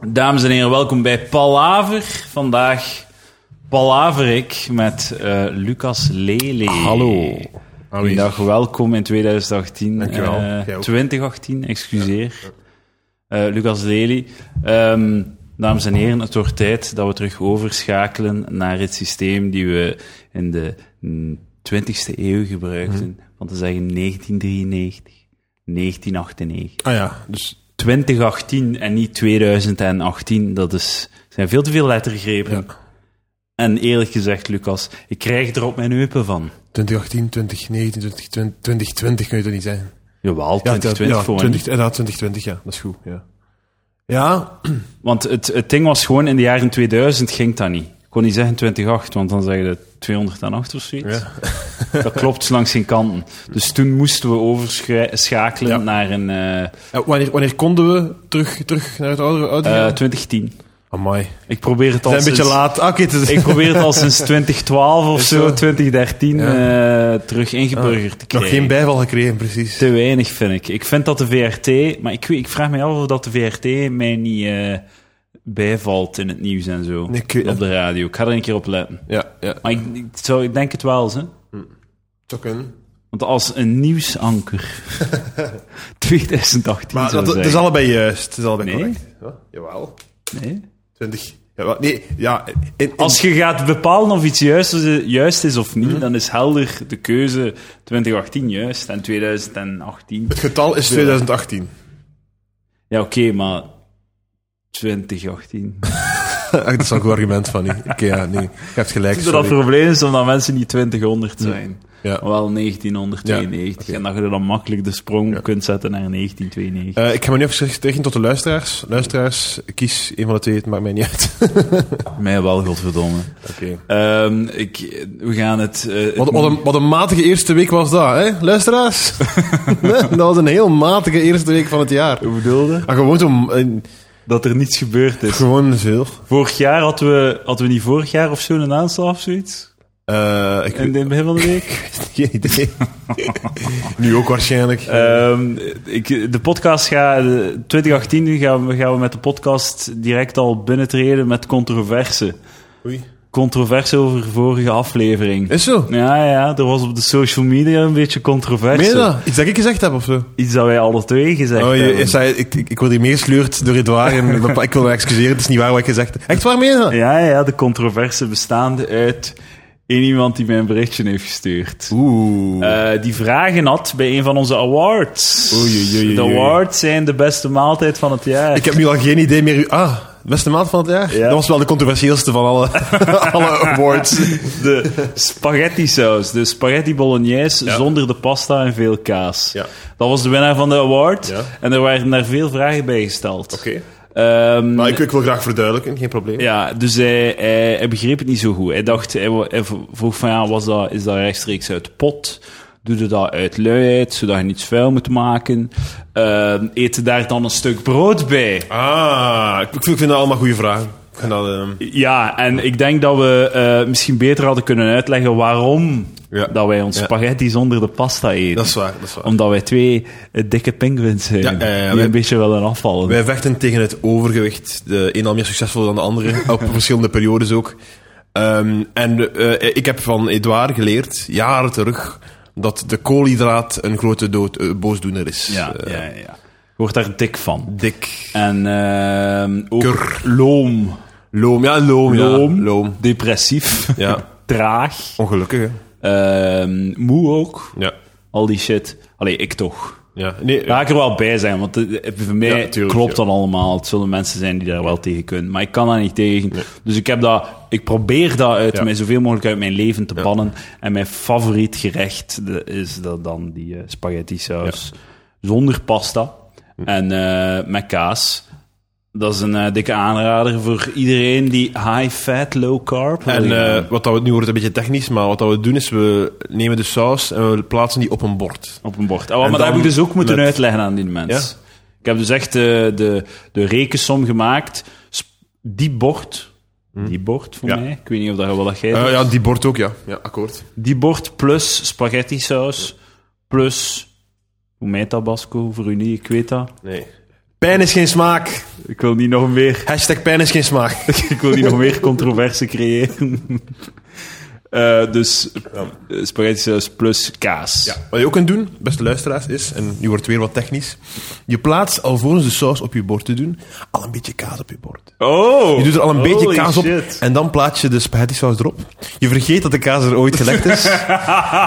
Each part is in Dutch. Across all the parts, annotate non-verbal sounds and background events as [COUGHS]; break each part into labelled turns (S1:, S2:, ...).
S1: Dames en heren, welkom bij Palaver. Vandaag palaver ik met eh, Lucas Lely.
S2: Hallo.
S1: Goedendag, welkom in 2018.
S2: Dankjewel.
S1: Eh,
S2: Jij ook.
S1: 2018, excuseer. Eh, Lucas Lely. Ehm, dames en heren, het wordt tijd dat we terug overschakelen naar het systeem die we in de mm, 20e eeuw gebruikten.
S2: Mhm.
S1: Van te zeggen 1993, 1998.
S2: Ah ja, dus
S1: 2018 en niet 2018. Dat is, zijn veel te veel lettergrepen. En eerlijk gezegd, Lucas, ik krijg er op mijn heupen van.
S2: 2018, 2019, 2020, 2020 kun je dat niet zijn.
S1: Jawel,
S2: Ja,
S1: 2020
S2: ja,
S1: voor
S2: 20, inderdaad, 2020, ja, dat is goed. Ja, ja
S1: Want het, het ding was gewoon, in de jaren 2000 ging dat niet. Ik kon niet zeggen 2008, want dan zeg je 208 of zoiets. [LAUGHS] Dat klopt langs geen kanten. Dus toen moesten we overschakelen
S2: Ja.
S1: naar een eh,
S2: Ja, wanneer, wanneer konden we terug, terug naar het oude oude
S1: eh,
S2: gaan?
S1: 2010.
S2: Amai.
S1: Ik probeer het
S2: We
S1: al
S2: zijn een
S1: sinds-
S2: beetje laat. Ah, oké, het is-
S1: Ik probeer het al sinds 2012 of
S2: Is
S1: zo,
S2: zo.
S1: 2013, eh, terug ingeburgerd te
S2: [LAUGHS] nog
S1: krijgen.
S2: geen bijval gekregen, precies.
S1: Te weinig, vind ik. Ik vind dat de VRT... Maar ik, weet- ik vraag me af of dat de VRT mij niet eh, bijvalt in het nieuws en zo.
S2: Nee, ik weet
S1: op
S2: het.
S1: de radio. Ik ga er een keer op letten.
S2: Ja, ja.
S1: Maar ik, ik, zou, ik denk het wel eens, hè.
S2: Zou kunnen.
S1: Want als een
S2: [LAUGHS]
S1: nieuwsanker... 2018
S2: Maar
S1: zou
S2: dat, dat is
S1: zeggen.
S2: allebei juist. Het is allebei
S1: Nee.
S2: correct. Ja, jawel.
S1: Nee.
S2: 20. Jawel. Nee, ja. In, in-
S1: Als je gaat bepalen of iets juist is, eh, juist is of niet,
S2: Mhm.
S1: dan is helder de keuze 2018 juist en 2018...
S2: Het getal is [LAUGHS] 2018.
S1: Ja, oké, maar... 2018...
S2: dat is wel een goed argument van niet. Oké, ja, nee. Je hebt gelijk.
S1: Dat het
S2: sorry.
S1: probleem is omdat mensen niet 200 zijn,
S2: Ja.
S1: maar wel 1992.
S2: Ja, oké.
S1: En dat je er dan makkelijk de sprong kunt zetten naar 1992.
S2: Eh, ik ga me nu even richten tot de luisteraars. Luisteraars, kies een van de twee, het maakt mij niet uit. Oké.
S1: Mij wel, godverdomme. Ehm, ik, we gaan het... eh, het
S2: Wat, wat, een, wat een matige eerste week was dat, hè?
S1: [LAUGHS]
S2: Luisteraars? Nee, dat was een heel matige eerste week van het jaar.
S1: Hoe bedoelde?
S2: Ah, gewoon, zo, eh,
S1: Dat er niets gebeurd is.
S2: gewoon veel.
S1: Vorig jaar hadden we, hadden we niet vorig jaar of zo een aanslag of zoiets?
S2: Eh, [LAUGHS] ik
S1: In
S2: weet
S1: het begin van de week?
S2: geen idee.
S1: [LAUGHS]
S2: nu ook waarschijnlijk.
S1: Ehm, ik, de podcast gaat... eh, 2018 gaan we, gaan we met de podcast direct al binnentreden met controverse.
S2: Oei.
S1: Controverse over vorige aflevering.
S2: Is zo?
S1: Ja, ja, er was op de social media een beetje controverse.
S2: Meen je dat? Iets dat ik gezegd heb of zo?
S1: Iets dat wij alle twee gezegd
S2: Oh, je,
S1: hebben.
S2: is hij- ik, ik, ik word hier meegesleurd door Edouard
S1: [LAUGHS]
S2: en bepa- ik wil me excuseren, het is niet waar wat ik gezegd heb. Echt waar, meen je dat?
S1: Ja, ja, de controverse bestaande uit één iemand die mij een berichtje heeft gestuurd.
S2: Oeh.
S1: Eh, die vragen had bij een van onze awards.
S2: Oei, oei, oei, oei.
S1: De awards zijn de beste maaltijd van het jaar.
S2: Ik heb nu al geen idee meer. Ah, beste maand van het jaar?
S1: Ja.
S2: Dat was wel de controversieelste van alle, [LAUGHS] alle awards.
S1: [LAUGHS] De spaghetti saus, de spaghetti bolognese
S2: Ja.
S1: zonder de pasta en veel kaas.
S2: Ja.
S1: Dat was de winnaar van de award.
S2: Ja.
S1: En er waren daar veel vragen bij gesteld.
S2: Oké.
S1: Ehm,
S2: Maar ik, ik wil graag verduidelijken, geen probleem.
S1: Ja, dus hij, hij, hij begreep het niet zo goed. Hij dacht, hij, wa- hij vroeg van ja, was dat, is dat rechtstreeks uit de pot? Doe je dat uit luiheid, zodat je niets vuil moet maken? Ehm eet daar dan een stuk brood bij?
S2: Ah, ik, ik vind dat allemaal goede vragen. Ik vind dat, ehm,
S1: Ja, en ik denk dat we eh, misschien beter hadden kunnen uitleggen waarom
S2: Ja.
S1: dat wij ons
S2: Ja.
S1: spaghetti zonder de pasta eten.
S2: dat is waar, dat is waar.
S1: Omdat wij twee eh, dikke penguins zijn,
S2: Ja, ja, ja,
S1: die
S2: wij-
S1: een beetje willen afvallen.
S2: Wij vechten tegen het overgewicht. De een al meer succesvol dan de [LAUGHS] andere. Op verschillende periodes ook. Ehm, en eh, ik heb van Edouard geleerd, jaren terug, dat de koolhydraat een grote dood, eh, boosdoener is.
S1: ja,
S2: Eh,
S1: ja, ja. Je wordt daar dik van.
S2: Dik,
S1: En ehm ook
S2: Kur.
S1: loom.
S2: loom. Ja, loom. ja,
S1: Loom.
S2: loom.
S1: depressief, [LAUGHS]
S2: Ja.
S1: traag,
S2: Ongelukkig, hè?
S1: ehm, moe ook.
S2: Ja.
S1: Al die shit. Allee, ik toch.
S2: ja. Nee,
S1: Daar ga ik er wel bij zijn, want eh, eh, voor mij
S2: Ja, tuurlijk,
S1: klopt
S2: ja.
S1: dat allemaal. Het zullen mensen zijn die daar wel tegen kunnen, maar ik kan daar niet tegen. Dus ik, heb dat, ik probeer dat uit,
S2: Ja.
S1: mij zoveel mogelijk uit mijn leven te bannen. En mijn favoriet gerecht de- is dat dan die eh, spaghetti saus zonder pasta en eh, met kaas. Dat is een eh, dikke aanrader voor iedereen die high fat, low carb wil
S2: En
S1: gaan.
S2: eh, wat dat we, nu wordt het een beetje technisch, maar wat dat we doen is we nemen de saus en we plaatsen die op een bord.
S1: Op een bord. Ah, wel,
S2: En
S1: maar dat
S2: dan
S1: heb ik dus ook moeten
S2: met-
S1: uitleggen aan die mens. Ik heb dus echt eh, de, de rekensom gemaakt. Sp- Die bord, die bord voor
S2: Ja.
S1: mij, ik weet niet of dat wel dat jij
S2: Eh,
S1: doet.
S2: ja, die bord ook, ja. Ja, akkoord.
S1: Die bord plus spaghetti saus, plus, hoe mij tabasco, voor u niet, ik weet dat.
S2: Nee. Pijn is geen smaak.
S1: Ik wil niet nog meer, [LAUGHS]
S2: Hashtag pijn is geen smaak.
S1: ik wil niet nog meer controverse creëren. [LAUGHS] Eh, dus eh, spaghetti saus plus kaas.
S2: [LAUGHS] Ja. Wat je ook kunt doen, beste luisteraars, is, en nu wordt het weer wat technisch, je plaatst alvorens de saus op je bord te doen, al een beetje kaas op je bord.
S1: Oh!
S2: Je doet er al een beetje kaas op
S1: shit.
S2: en dan plaats je de spaghetti saus erop. Je vergeet dat de kaas er ooit gelekt
S1: [LAUGHS]
S2: is.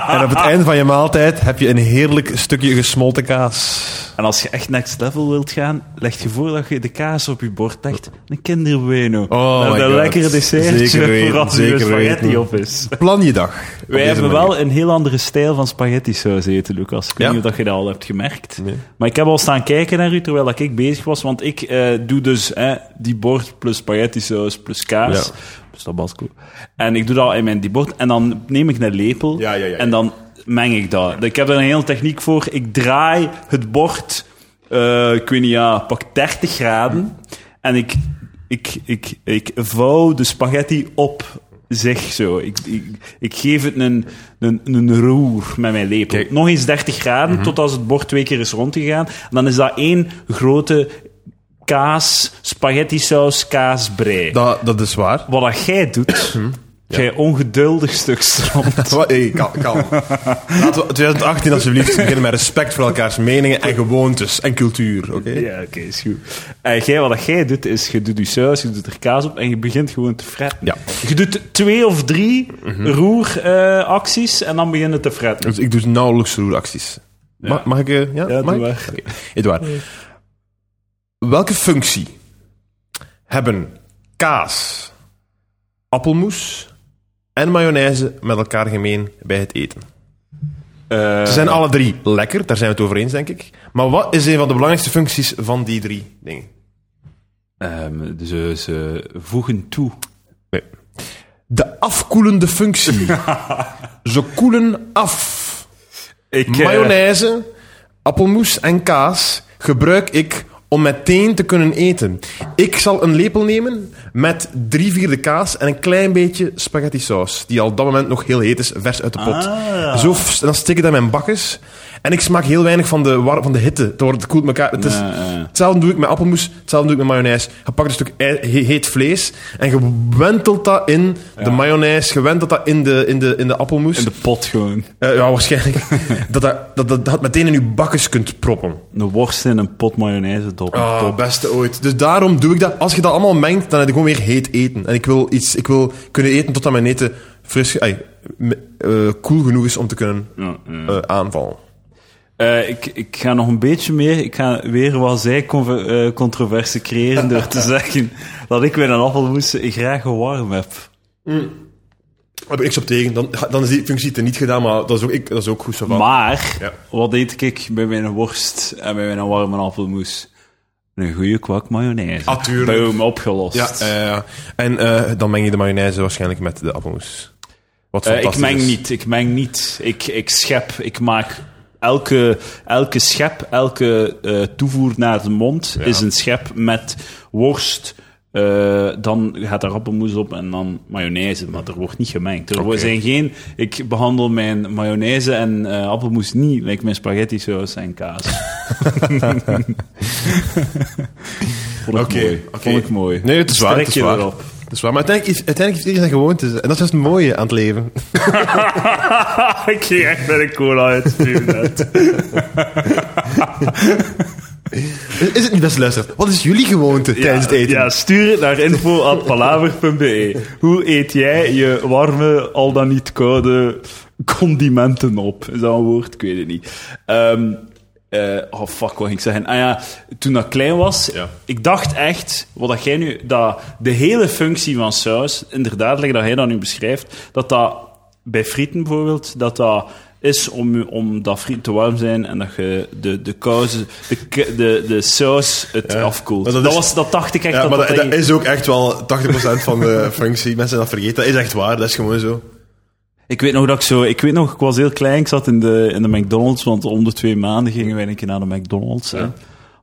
S2: en op het einde van je maaltijd heb je een heerlijk stukje gesmolten kaas.
S1: En als je echt next level wilt gaan, leg je voor dat je de kaas op je bord legt. Een kinderweno.
S2: Oh
S1: Met
S2: my
S1: een
S2: God.
S1: lekker dessertje
S2: Zeker weten,
S1: voor als je
S2: zeker
S1: spaghetti
S2: weten.
S1: op is.
S2: Plan je dag. Op
S1: Wij
S2: deze
S1: hebben
S2: manier.
S1: wel een heel andere stijl van spaghetti saus eten, Lucas. Ik weet
S2: Ja?
S1: niet of je dat al hebt gemerkt.
S2: Nee.
S1: Maar ik heb al staan kijken naar u terwijl dat ik bezig was. Want ik eh, doe dus hè, die bord plus spaghetti saus plus kaas. Dus
S2: Ja.
S1: Plus tabasco. En ik doe dat in mijn die bord. En dan neem ik een lepel.
S2: Ja, ja, ja, ja.
S1: En dan meng ik dat. Ik heb er een hele techniek voor. Ik draai het bord, eh, ik weet niet, ja, pak 30 graden. En ik, ik, ik, ik vouw de spaghetti op zich zo. Ik, ik, ik geef het een, een, een roer met mijn lepel.
S2: Kijk. Mhm.
S1: Nog eens 30 graden, tot als het bord twee keer is rondgegaan. En dan is dat één grote kaas, spaghetti saus, kaasbrei.
S2: Dat, Mhm. dat is waar.
S1: Wat dat jij doet, jij ongeduldig stuk stront.
S2: Wat- Hey, kalm,
S1: [LAUGHS]
S2: kalm. Laten we 2018 alsjeblieft beginnen met respect voor elkaars meningen en gewoontes en cultuur, oké?
S1: [LAUGHS] Ja, oké, is goed. En jij, wat dat jij doet, is je doet je saus, je doet er kaas op en je begint gewoon te fretten.
S2: Ja. Mhm.
S1: Je doet twee of drie roeracties eh, en dan begin je te fretten.
S2: Dus ik doe nauwelijks roeracties. Ma- mag ik? eh, Ja,
S1: Ja, doe
S2: mag ik?
S1: maar.
S2: Edouard. Welke functie hebben kaas, appelmoes en mayonaise met elkaar gemeen bij het eten?
S1: Eh,
S2: Ze
S1: Dus-
S2: zijn alle drie lekker, daar zijn we het over eens, denk ik. Maar wat is een van de belangrijkste functies van die drie dingen?
S1: Ehm, dus eh, ze voegen toe.
S2: Nee. De afkoelende [LAUGHS] functie. Ze koelen af.
S1: Ik, eh,
S2: Mayonaise, appelmoes en kaas gebruik ik om meteen te kunnen eten. Ik zal een lepel nemen met drie vierde kaas en een klein beetje spaghetti saus, die al op dat moment nog heel heet is, vers uit de pot.
S1: Ah.
S2: Zo, f- dan steek ik dat in mijn bakkes. En ik smaak heel weinig van de, war- van de hitte. Het, wordt, het koelt elkaar. Het is,
S1: Nee, eh.
S2: Hetzelfde doe ik met appelmoes, hetzelfde doe ik met mayonaise. Je pakt een stuk ei- he- heet vlees en je wentelt dat in de mayonaise, je wentelt dat in de, in de, in de appelmoes.
S1: in de pot gewoon.
S2: Eh, ja, waarschijnlijk. [LAUGHS] dat, dat, dat, dat, dat meteen in uw bakjes kunt proppen.
S1: Een worst in een pot mayonaise doppen.
S2: Ah, beste ooit. Dus daarom doe ik dat. Als je dat allemaal mengt, dan heb je gewoon weer heet eten. En ik wil, iets, ik wil kunnen eten totdat mijn eten fris, ge- ai, me- eh, koel genoeg is om te kunnen
S1: Ja, ja.
S2: eh, aanvallen.
S1: Eh, ik, ik ga nog een beetje meer, ik ga weer wat zij conver- eh, controverse creëren door
S2: [LAUGHS]
S1: te zeggen dat ik met een appelmoes graag warm heb.
S2: Daar heb ik niks op tegen. Dan, dan is die functie niet gedaan, maar dat is ook, ik, dat is ook goed zo van.
S1: Maar,
S2: Ja.
S1: wat eet ik bij mijn worst en bij mijn warme appelmoes? Een goede kwak mayonaise.
S2: Ah, tuurlijk.
S1: Boom, opgelost.
S2: Ja, ja, ja, ja. En eh, dan meng je de mayonaise waarschijnlijk met de appelmoes. Wat
S1: Eh, ik
S2: fantastisch
S1: meng
S2: is.
S1: niet, ik meng niet. Ik, ik schep, ik maak elke, elke schep, elke eh, toevoer naar de mond is een schep met worst. eh, dan gaat er appelmoes op en dan mayonaise, maar er wordt niet gemengd. Er
S2: Oké.
S1: zijn geen, ik behandel mijn mayonaise en eh, appelmoes niet, like mijn spaghetti saus en kaas.
S2: [LAUGHS]
S1: Vond ik
S2: Oké,
S1: mooi.
S2: oké.
S1: Vond ik mooi.
S2: Nee, het is waar,
S1: Strek
S2: het is
S1: je
S2: waar.
S1: erop.
S2: Dat is waar, maar uiteindelijk, is- uiteindelijk heeft iedereen zijn gewoontes. En dat is het mooie aan het
S1: [LAUGHS]
S2: leven.
S1: [LAUGHS] ik ging echt met een cola uit
S2: [LAUGHS] Is het niet, beste luisteraar? Wat is jullie gewoonte tijdens het eten?
S1: Ja, stuur het naar info.palaver.be. Hoe eet jij je warme, al dan niet koude condimenten op? Is dat een woord? Ik weet het niet. Ehm, eh, oh fuck, wat ging ik zeggen? Ah ja, toen dat klein was,
S2: Ja.
S1: ik dacht echt, wat dat jij nu, dat de hele functie van saus, inderdaad, like dat jij dat nu beschrijft, dat dat bij frieten bijvoorbeeld, dat dat is om, je- om dat frieten te warm zijn en dat je de, de kousen, de, k- de, de saus het
S2: Ja.
S1: afkoelt.
S2: Maar
S1: Dat,
S2: dat is-
S1: was, dat dacht ik echt.
S2: Ja,
S1: dat
S2: maar dat,
S1: dat
S2: dat
S1: echt-
S2: is ook echt wel 80% van de [LAUGHS] functie. Mensen dat vergeten. Dat is echt waar, dat is gewoon zo.
S1: Ik weet nog dat ik zo, ik weet nog, ik was heel klein, ik zat in de, in de McDonald's, want om de twee maanden gingen wij een keer naar de McDonald's, hè,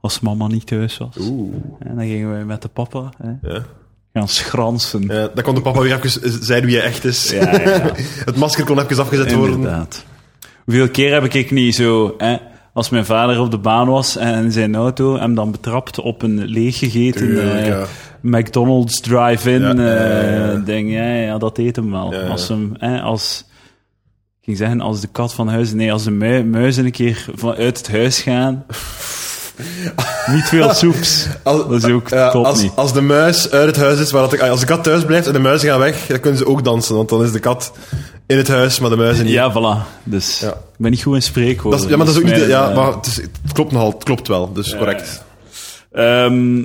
S1: als mama niet thuis was.
S2: Oeh.
S1: En dan gingen wij met de papa hè,
S2: Ja.
S1: gaan schransen.
S2: Ja, dan kon de papa weer even zijn wie hij echt is. [LAUGHS]
S1: Ja, ja, ja.
S2: Het masker kon even afgezet worden.
S1: Inderdaad. Hoeveel keer heb ik niet zo hè, als mijn vader op de baan was en in zijn auto hem dan betrapt op een leeggegeten
S2: Tuurlijk,
S1: eh,
S2: ja.
S1: McDonald's drive-in
S2: Ja, ja, ja,
S1: eh,
S2: ja.
S1: ding. Ja, ja, dat deed hem wel.
S2: Ja, ja.
S1: Als hem, eh, als, ik ging zeggen, als de kat van huis, nee, als de mui- muizen een keer van uit het huis
S2: [LAUGHS]
S1: gaan, niet veel soeps.
S2: Als,
S1: Dat is ook-
S2: ja,
S1: klopt
S2: als,
S1: niet.
S2: als de muis uit het huis is, maar dat de, als de kat thuis blijft en de muizen gaan weg, dan kunnen ze ook dansen, want dan is de kat in het huis, maar de muizen niet.
S1: Ja, voilà. Dus
S2: Ja.
S1: ik ben niet goed in spreekwoorden.
S2: dat is, ja maar dat is ook niet. de-
S1: mijn,
S2: ja,
S1: eh,
S2: maar het, is- het klopt nogal, het klopt wel, dus correct.
S1: Ehm,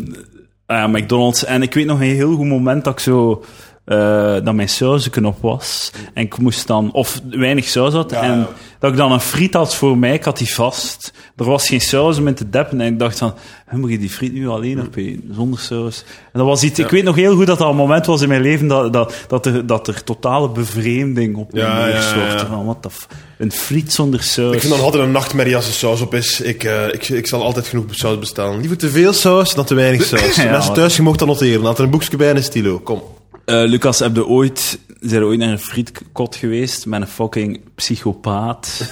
S1: ah ja, McDonald's. En ik weet nog een heel goed moment dat ik zo. eh, dat mijn sauzenknop was. En ik moest dan. Of weinig saus had.
S2: Ja,
S1: en
S2: ja.
S1: dat ik dan een friet had voor mij. Ik had die vast. Er was geen saus om in te deppen. En ik dacht van. "Hè, Moet je die friet nu alleen opeten? Zonder saus. En dat was iets. Ik weet nog heel goed dat dat een moment was in mijn leven. dat, dat, dat, er, dat er totale bevreemding op me
S2: Ja, ja, ja,
S1: neerzorgde.
S2: ja.
S1: Van wat de. f- Een friet zonder saus.
S2: Ik vind dan altijd een nachtmerrie als er saus op is. Ik, eh, ik, ik zal altijd genoeg saus bestellen. Liever te veel saus dan te weinig [LAUGHS] saus.
S1: Ja,
S2: Mensen
S1: wat-
S2: thuis, je mocht dat noteren. Laat er een boekje bij en een stilo. Kom.
S1: Eh, Lucas, heb je ooit, zijn ooit naar een frietkot geweest met een fucking
S2: [LAUGHS]
S1: psychopaat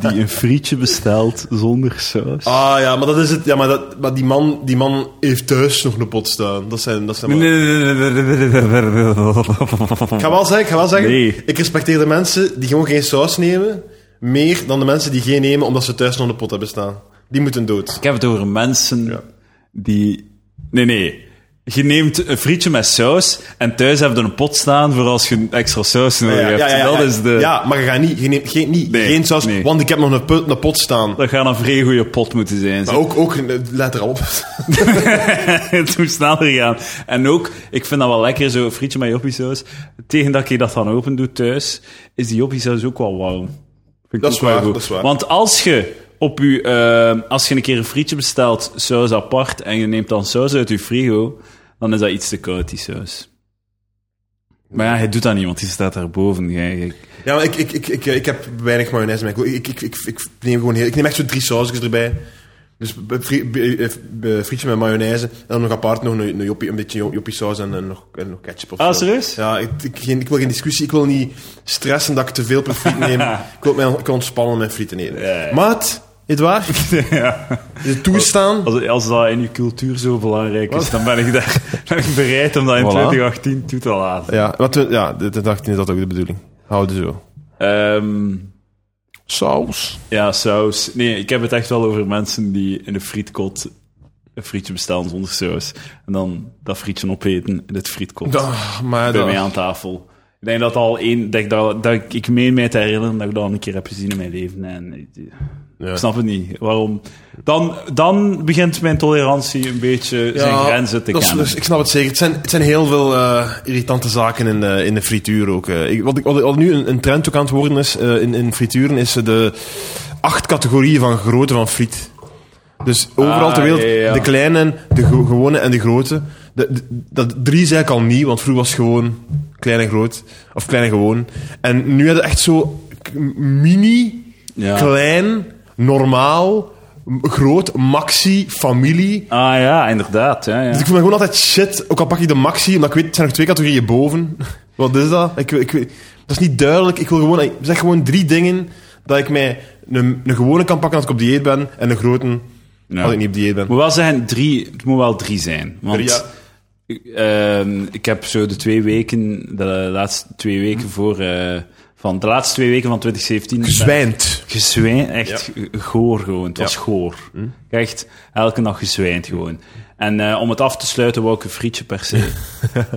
S1: die een frietje bestelt zonder saus?
S2: Ah ja, maar dat is het. Ja, maar, dat, maar die, man, die man heeft thuis nog een pot staan. Dat zijn, dat zijn maar- Ik ga wel zeggen, ik ga wel zeggen
S1: Nee.
S2: ik respecteer de mensen die gewoon geen saus nemen, meer dan de mensen die geen nemen omdat ze thuis nog een pot hebben staan. Die moeten dood.
S1: Ik heb het over mensen
S2: Ja.
S1: die... Nee, nee. Je neemt een frietje met saus en thuis heb je een pot staan voor als je extra saus nodig hebt. dat is de...
S2: Oh Ja, maar je gaat niet, je neemt geen, niet,
S1: Nee,
S2: geen saus,
S1: nee.
S2: want ik heb nog een, put, een pot staan.
S1: Dat gaat een vrij goede pot moeten zijn.
S2: Maar ook, ook, eh, let erop. op.
S1: [LAUGHS] toen sneller gaan. En ook, ik vind dat wel lekker, zo'n frietje met joppiesaus. Tegen dat je dat dan open doet thuis, is die joppiesaus ook wel warm. Vind ik
S2: Dat is
S1: ook wel
S2: waar,
S1: goed.
S2: dat is waar.
S1: Want als je op je, eh, als je een keer een frietje bestelt, saus apart, en je neemt dan saus uit je frigo, dan is dat iets te koud, die saus. Maar ja, hij doet dat niet, want die staat daarboven. Jij, jij-
S2: [LAUGHS] Ja, maar ik, ik, ik, eh, ik, ik heb weinig mayonaise. maar Ik, ik, ik, ik, ik neem gewoon heel, ik neem echt zo drie sausjes erbij. Dus b- fri- b- eh, b- eh, frietje met mayonaise. En dan nog apart nog een, een, joppie, een beetje jo- joppie saus en, en, nog, en nog ketchup of
S1: Ah,
S2: zo.
S1: serieus?
S2: Ja, ik, ik, geen- ik wil geen discussie. Ik wil niet stressen dat ik te veel per
S1: [LAUGHS]
S2: friet neem. ik wil mij on- ik wil ontspannen met frieten eten.
S1: Ja, ja.
S2: Maat, Edouard,
S1: [LAUGHS] ja.
S2: is het toestaan?
S1: als, als dat in je cultuur zo belangrijk is, dan ben ik, daar, [LAUGHS] ben ik bereid om dat in
S2: Voilà.
S1: 2018 toe te laten.
S2: Ja, wat, we- ja de, de dacht is dat ook de bedoeling. Houden zo.
S1: Ehm,
S2: Saus.
S1: ja, saus. Nee, ik heb het echt wel over mensen die in een frietkot een frietje bestellen zonder saus. En dan dat frietje opeten in het frietkot.
S2: Ah, maar
S1: bij
S2: dat-
S1: mij aan tafel. Ik denk dat al één... Dat ik, dat, dat ik, ik meen mij te herinneren dat ik dat al een keer heb gezien in mijn leven. En, eh, ik
S2: Ja.
S1: snap het niet. Waarom? Dan, dan begint mijn tolerantie een beetje zijn
S2: Ja,
S1: grenzen te
S2: dat is-
S1: kennen.
S2: dus ik snap het zeker. Het zijn, het zijn heel veel eh, irritante zaken in de, in de frituur ook. eh. Ik, wat, ik, wat, wat nu een, een trend ook aan het worden is eh, in, in frituren, is eh, de acht categorieën van grootte van friet. Dus overal
S1: Ah,
S2: ter wereld,
S1: ja, ja, ja.
S2: de kleine, de ge- gewone en de grote. De, de- dat drie is eigenlijk al niet, want vroeger was het gewoon klein en groot. Of klein en gewoon. En nu hebben we echt zo k- mini,
S1: Ja.
S2: klein, normaal, m- groot, maxi, familie.
S1: Ah ja, inderdaad. Ja, ja.
S2: Dus ik voel me gewoon altijd shit, ook al pak ik de maxi, omdat ik weet, er zijn nog twee categorieën boven. [LAUGHS] Wat is dat? Ik, ik, weet- dat is niet duidelijk. Ik wil gewoon, ik zeg gewoon drie dingen dat ik mij een, een gewone kan pakken als ik op dieet ben, en een grote
S1: Ja.
S2: als ik niet op dieet ben.
S1: Nou, moet wel zeggen, drie, het moet wel drie zijn. Want
S2: Drie, ja.
S1: ik, ehm, ik heb zo de twee weken, de laatste twee
S2: Hm.
S1: weken voor, eh, van de laatste twee weken van 2017. ben ik
S2: Gezwijnd.
S1: Gezwijn, echt g- goor gewoon. Het was
S2: Ja. Hm.
S1: goor. Echt elke nacht gezwijnd gewoon. En eh, om het af te sluiten wou ik een frietje per
S2: [LAUGHS]
S1: se.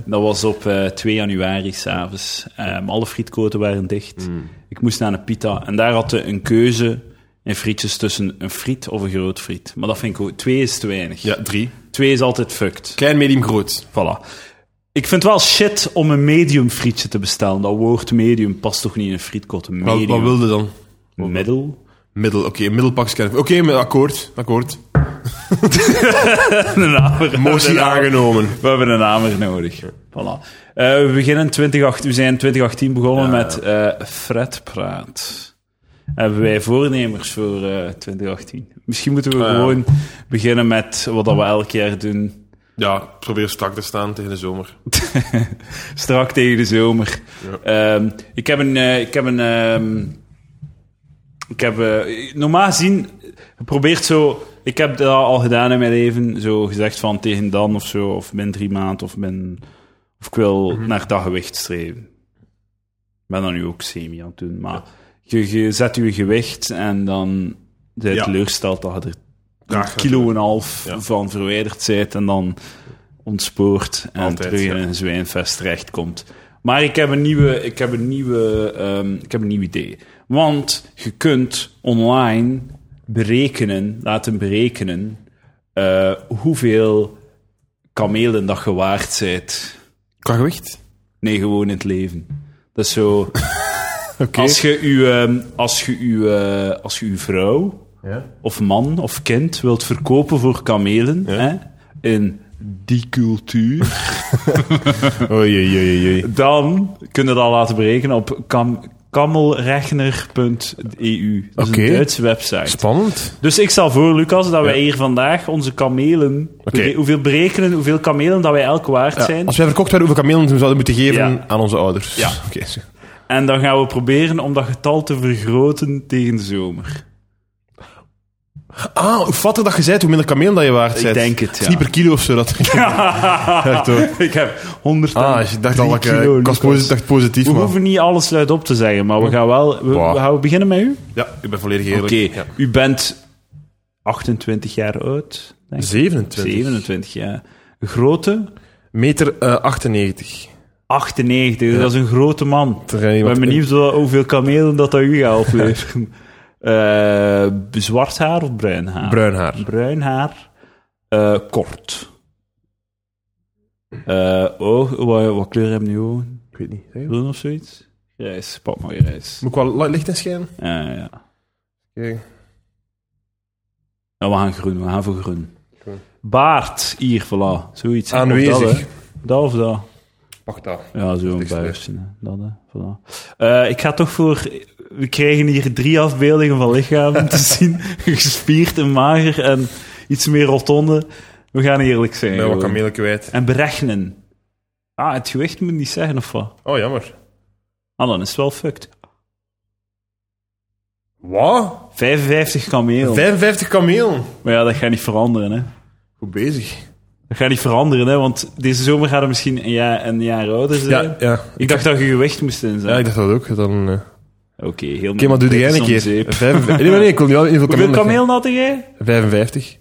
S1: dat was op eh, 2 januari s'avonds. Ehm alle frietkoten waren dicht.
S2: Hm.
S1: Ik moest naar een pita. En daar had je een keuze in frietjes tussen een friet of een groot friet. Maar dat vind ik ook... Twee is te weinig.
S2: Ja, drie.
S1: Twee is altijd fucked.
S2: Klein, medium, groot.
S1: Voilà. Ik vind wel shit om een medium frietje te bestellen. Dat woord medium past toch niet in een frietkot? Een
S2: Wat, wat
S1: medium.
S2: wilde dan?
S1: middel.
S2: [LAUGHS] Middel, oké, een middelpakjes kan ik- Oké, maar akkoord, [LAUGHS] akkoord.
S1: Een hamer. We
S2: Motie
S1: hebben een hamer-
S2: aangenomen.
S1: We hebben een hamer nodig. Voilà. Eh, we, beginnen 2018, we zijn 2018 begonnen met eh Fred Praat. Hebben wij voornemers voor eh, 2018? Misschien moeten we
S2: Ja.
S1: gewoon beginnen met wat dat we elk jaar doen.
S2: Ja, probeer strak te staan tegen de zomer.
S1: Strak tegen de zomer. Ehm, ik heb een, eh, ik heb een ehm, Ik heb eh, normaal gezien geprobeerd zo. Ik heb dat al gedaan in mijn leven. Zo gezegd van tegen dan of zo, of binnen drie maanden of ben. Of ik wil naar dat gewicht streven. Ik ben dan nu ook semi aan het doen. Maar je, je zet je gewicht en dan zijn
S2: Ja.
S1: teleurgesteld dat je er
S2: Ja,
S1: een kilo en een half
S2: Ja.
S1: van verwijderd bent en dan ontspoort en
S2: Altijd,
S1: terug in
S2: ja.
S1: een zwijnvest terechtkomt. Maar ik heb een nieuwe, ik heb een nieuwe, ehm, ik heb een nieuw idee. Want je kunt online berekenen, laten berekenen, eh, hoeveel kamelen dat je waard bent.
S2: Qua gewicht?
S1: Nee, gewoon in het leven. Dat is zo.
S2: Oké.
S1: Als je je, ehm, als je je, eh, als je je vrouw
S2: Ja.
S1: of man of kind wilt verkopen voor kamelen hè, in die
S2: [LAUGHS]
S1: cultuur,
S2: Oei, oei, oei, oei.
S1: dan kun je dat laten berekenen op kam kamelrechner.eu. Dat is
S2: Oké.
S1: een Duitse website.
S2: Spannend.
S1: Dus ik stel voor, Lucas, dat wij hier vandaag onze kamelen,
S2: Oké.
S1: bere- hoeveel berekenen, hoeveel kamelen dat wij elk waard zijn.
S2: Als wij verkocht werden, hoeveel kamelen we zouden moeten geven
S1: Ja.
S2: aan onze ouders?
S1: Ja.
S2: [LAUGHS] Oké. zo.
S1: En dan gaan we proberen om dat getal te vergroten tegen de zomer.
S2: Ah, hoe fatter dat je bent, hoe minder kamelen dat je waard
S1: Ik
S2: bent.
S1: denk het,
S2: is
S1: ja.
S2: niet per kilo of
S1: [LAUGHS]
S2: zo. Dat... Echt hoor.
S1: ik heb 100
S2: Ah, ik dacht al, ik, eh, ik was posi- dacht positief,
S1: We
S2: maar...
S1: hoeven niet alles luid op te zeggen, maar we gaan wel... We,
S2: Wow.
S1: we gaan we beginnen met u?
S2: Ja, ik ben volledig
S1: Oké,
S2: eerlijk. Ja.
S1: u bent 28 jaar oud, denk ik.
S2: 27.
S1: 27 jaar. Grootte?
S2: Meter eh, 98.
S1: 98, dat is een grote man.
S2: Er gaat
S1: Ik
S2: iemand
S1: ben
S2: in.
S1: benieuwd wel hoeveel kamelen dat dat u gaat
S2: [LAUGHS]
S1: opleveren. Eh, zwart haar of bruin haar?
S2: Bruin haar.
S1: Bruin haar, eh, kort. Eh oog, wat, wat kleur hebben die ogen?
S2: Ik weet niet. Zeg maar.
S1: Groen of zoiets? Grijs, pak maar grijs.
S2: Moet ik wel licht in schijnen?
S1: Ja, ja.
S2: Oké.
S1: Ja, Nou, we gaan groen, we gaan voor groen.
S2: Groen.
S1: Baard, hier, voilà, zoiets. Of
S2: Aanwezig.
S1: Dat, hè. dat of dat.
S2: Pak dat.
S1: Ja, zo'n
S2: niks
S1: buisje. hè. Dat, hè. Voilà. Eh, ik ga toch voor... We krijgen hier drie afbeeldingen van lichamen [LAUGHS] te zien. Gespierd en mager en iets meer rotonde. We gaan eerlijk zijn.
S2: Ik ben wat
S1: gewoon.
S2: kamelen kwijt.
S1: En berekenen. Ah, het gewicht moet niet zeggen of wat.
S2: Oh, jammer.
S1: Ah, dan is het wel fucked.
S2: Wat?
S1: 55 kameel.
S2: 55 kamelen.
S1: Maar ja, dat gaat niet veranderen, hè.
S2: Goed bezig.
S1: Dat gaat niet veranderen, hè. Want deze zomer gaat er misschien een jaar, een jaar ouder zijn.
S2: Ja, ja.
S1: Ik dacht dat je gewicht moest in zijn.
S2: Ja, ik dacht dat ook. Dan, eh. Oké,
S1: Oké, heel
S2: maar doe jij een
S1: Zonder
S2: keer.
S1: zeep.
S2: Vijf- Nee, maar nee, ik wil nu wel hoeveel
S1: Hoeveel
S2: kamelen. dat
S1: kameel had jij?
S2: je- 55.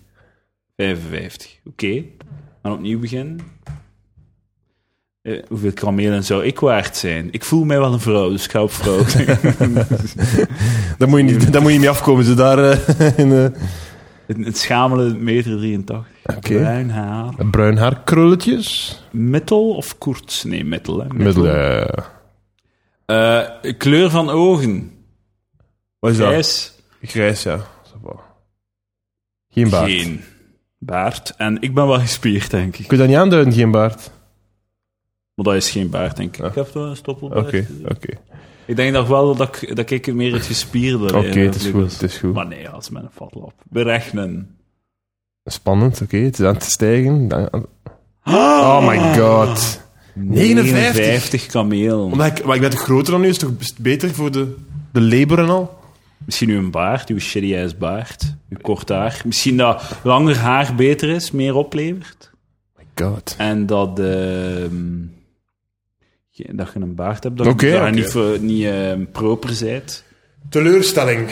S1: 55. Oké. Dan opnieuw beginnen. Eh, hoeveel kamelen zou ik waard zijn? Ik voel mij wel een vrouw, dus ik ga op
S2: [LAUGHS]
S1: vrouw.
S2: Daar moet je niet, daar moet je niet mee afkomen. Ze daar eh, [LAUGHS] in, eh,
S1: het, het schamele meter 83.
S2: Oké.
S1: Bruin haar.
S2: bruin haar krulletjes.
S1: Metal of koorts? Nee, metal. Hè?
S2: Middel.
S1: Eh, kleur van ogen.
S2: Wat is
S1: Grijs.
S2: dat? Grijs, ja. Zo wel. Geen baard.
S1: Geen baard. En ik ben wel gespierd, denk ik.
S2: Kun je dat niet aanduiden, geen baard?
S1: Maar dat is geen baard, denk ik.
S2: Ja.
S1: Ik heb wel een stoppelbaard.
S2: Oké, oké.
S1: Ik denk nog wel dat ik, dat ik meer het gespierde
S2: Oké,
S1: in
S2: het is
S1: heb,
S2: goed.
S1: Lucas.
S2: Het is goed.
S1: Maar nee, als men een fatlap. Berekenen.
S2: Spannend, oké. Het is aan het stijgen. Oh
S1: Ah.
S2: my god.
S1: 59 kameel.
S2: Omdat ik, maar ik ben toch groter dan nu? Is toch best beter voor de, de labor en al?
S1: Misschien uw baard, uw shitty ass baard. Uw kort haar. Misschien dat langer haar beter is, meer oplevert.
S2: My god.
S1: En dat, ehm, je- dat je een baard hebt, dat,
S2: Oké,
S1: je, dat je
S2: oké.
S1: niet, voor- niet ehm, proper zijt.
S2: Teleurstelling.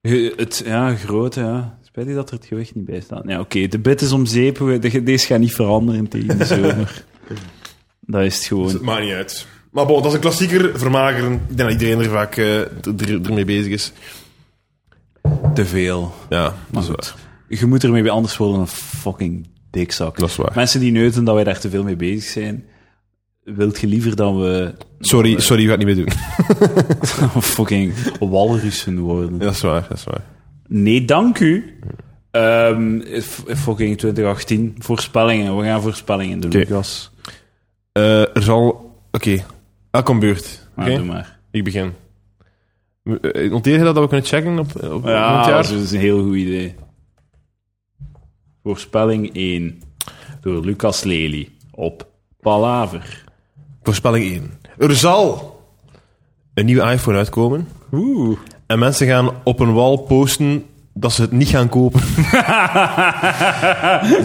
S1: Je- Het, ja, groot, ja. Spijtig dat er het gewicht niet bij staat. Ja, oké, de bit is om zeep. we- de- Deze gaat niet veranderen tegen de zomer.
S2: [LAUGHS]
S1: dat is het gewoon.
S2: Het maakt niet uit. Maar bon, dat is een klassieker. Vermageren. Ik denk dat iedereen er vaak eh, er- ermee bezig is.
S1: Te veel.
S2: Ja,
S1: Maar
S2: dat is
S1: goed.
S2: waar.
S1: Je moet ermee bij anders worden een fucking dikzak.
S2: Dat is waar.
S1: Mensen die neuten dat wij daar te veel mee bezig zijn, wilt je liever dat we [LAUGHS]
S2: Sorry, sorry, ik ga het niet meer doen.
S1: fucking walrussen worden?
S2: [LAUGHS] Dat is waar, dat is waar.
S1: Nee, dank u. Ehm, f- fucking 2018. Voorspellingen. We gaan voorspellingen doen,
S2: Oké.
S1: Lucas.
S2: Eh, er zal... Oké. Elk een Ah, beurt.
S1: Maar
S2: Oké?
S1: doe maar.
S2: Ik begin. Eh, Noteer je dat, dat we kunnen checken op, op, op het
S1: Ja,
S2: jaar?
S1: dat is een heel goed idee. Voorspelling 1. Door Lucas Lely. Op Palaver.
S2: Voorspelling 1. Er zal een nieuwe iPhone uitkomen.
S1: Oeh.
S2: En mensen gaan op een wal posten dat ze het niet gaan
S1: [LAUGHS]
S2: kopen. ze,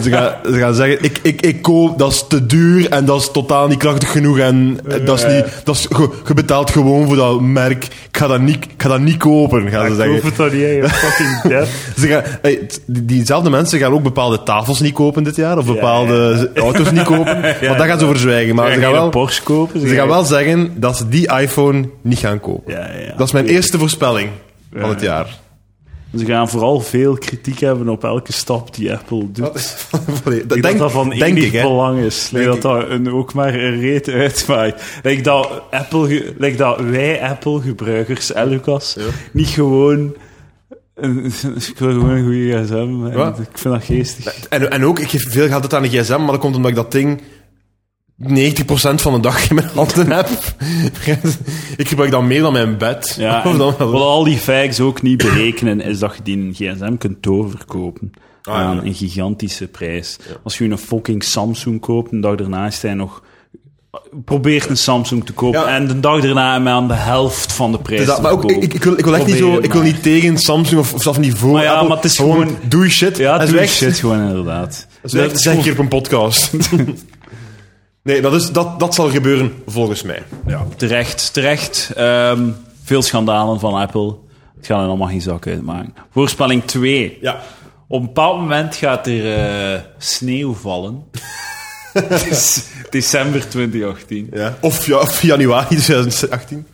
S2: gaan, ze gaan zeggen, ik, ik, ik koop, dat is te duur en dat is totaal niet krachtig genoeg en eh, dat is niet, dat is, ge- je betaalt gewoon voor dat merk, ik ga dat niet, ik ga dat niet kopen, gaan ze
S3: Ik hoef
S2: zeggen.
S3: het dan niet, hè, je
S2: [LAUGHS]
S3: fucking dead.
S2: Ze gaan, hey, t- die- diezelfde mensen gaan ook bepaalde tafels niet kopen dit jaar, of bepaalde auto's niet
S1: [LAUGHS]
S2: kopen, want dat gaan ze verzwijgen. Maar
S1: Ze
S2: ze gaan,
S1: hele
S2: wel,
S1: Porsche kopen.
S2: ze gaan wel zeggen dat ze die iPhone niet gaan kopen.
S1: Ja, ja.
S2: Dat is mijn eerste voorspelling van het jaar.
S3: Ze gaan vooral veel kritiek hebben op elke stap die Apple doet.
S2: Dat is [LAUGHS] volledig-
S3: Ik
S2: dat
S3: denk, dat
S2: denk,
S3: dat van
S2: denk
S3: enig
S2: ik, hè.
S3: belang is. Like
S2: Denk
S3: dat dat een, ook maar een reet uitmaakt. Like dat, Apple, ge- like dat wij Apple-gebruikers, en Lucas, niet gewoon... een- ik wil gewoon een goede gsm. en
S2: Wat?
S3: Ik vind dat geestig.
S2: En, en ook, ik geef veel geld uit aan de gsm, maar dat komt omdat ik dat ding 90% van de dag in mijn handen heb. [LAUGHS] ik gebruik dat meer dan mijn bed.
S3: Ja,
S2: [LAUGHS] Of
S3: en
S2: dan-
S3: wat al die fags ook niet berekenen, is dat je die een gsm kunt doorverkopen.
S2: Ah, ja.
S1: ja.
S3: aan een gigantische prijs. Als je een fucking Samsung koopt, een dag daarna is hij nog... Probeer een Samsung te kopen.
S2: Ja.
S3: En de dag daarna hem aan de helft van de prijs
S2: Dus dat-
S3: te
S2: maar ook, ik,
S3: verkopen.
S2: ik, ik wil, ik wil echt niet
S3: Probeer
S2: zo,
S3: het
S2: ik wil
S3: maar.
S2: niet tegen Samsung of, of zelfs niet voor
S3: Maar ja,
S2: Apple.
S3: maar het is gewoon-
S2: doe je shit.
S3: Ja,
S2: en
S3: doe je
S2: zwijg.
S3: shit gewoon inderdaad.
S2: Zwijg,
S3: Dat is
S2: zeg
S3: gewoon-
S2: hier op een podcast. [LAUGHS] nee, dat, is, dat, dat zal gebeuren volgens mij.
S3: Ja.
S1: Terecht, terecht. Ehm, veel schandalen van Apple. Het gaat er allemaal geen zak uitmaken. Voorspelling 2.
S2: Ja.
S1: Op een bepaald moment gaat er eh, sneeuw
S3: [LAUGHS]
S1: vallen. Het is december 2018.
S2: ja. Of, ja, of januari [LAUGHS] 2018.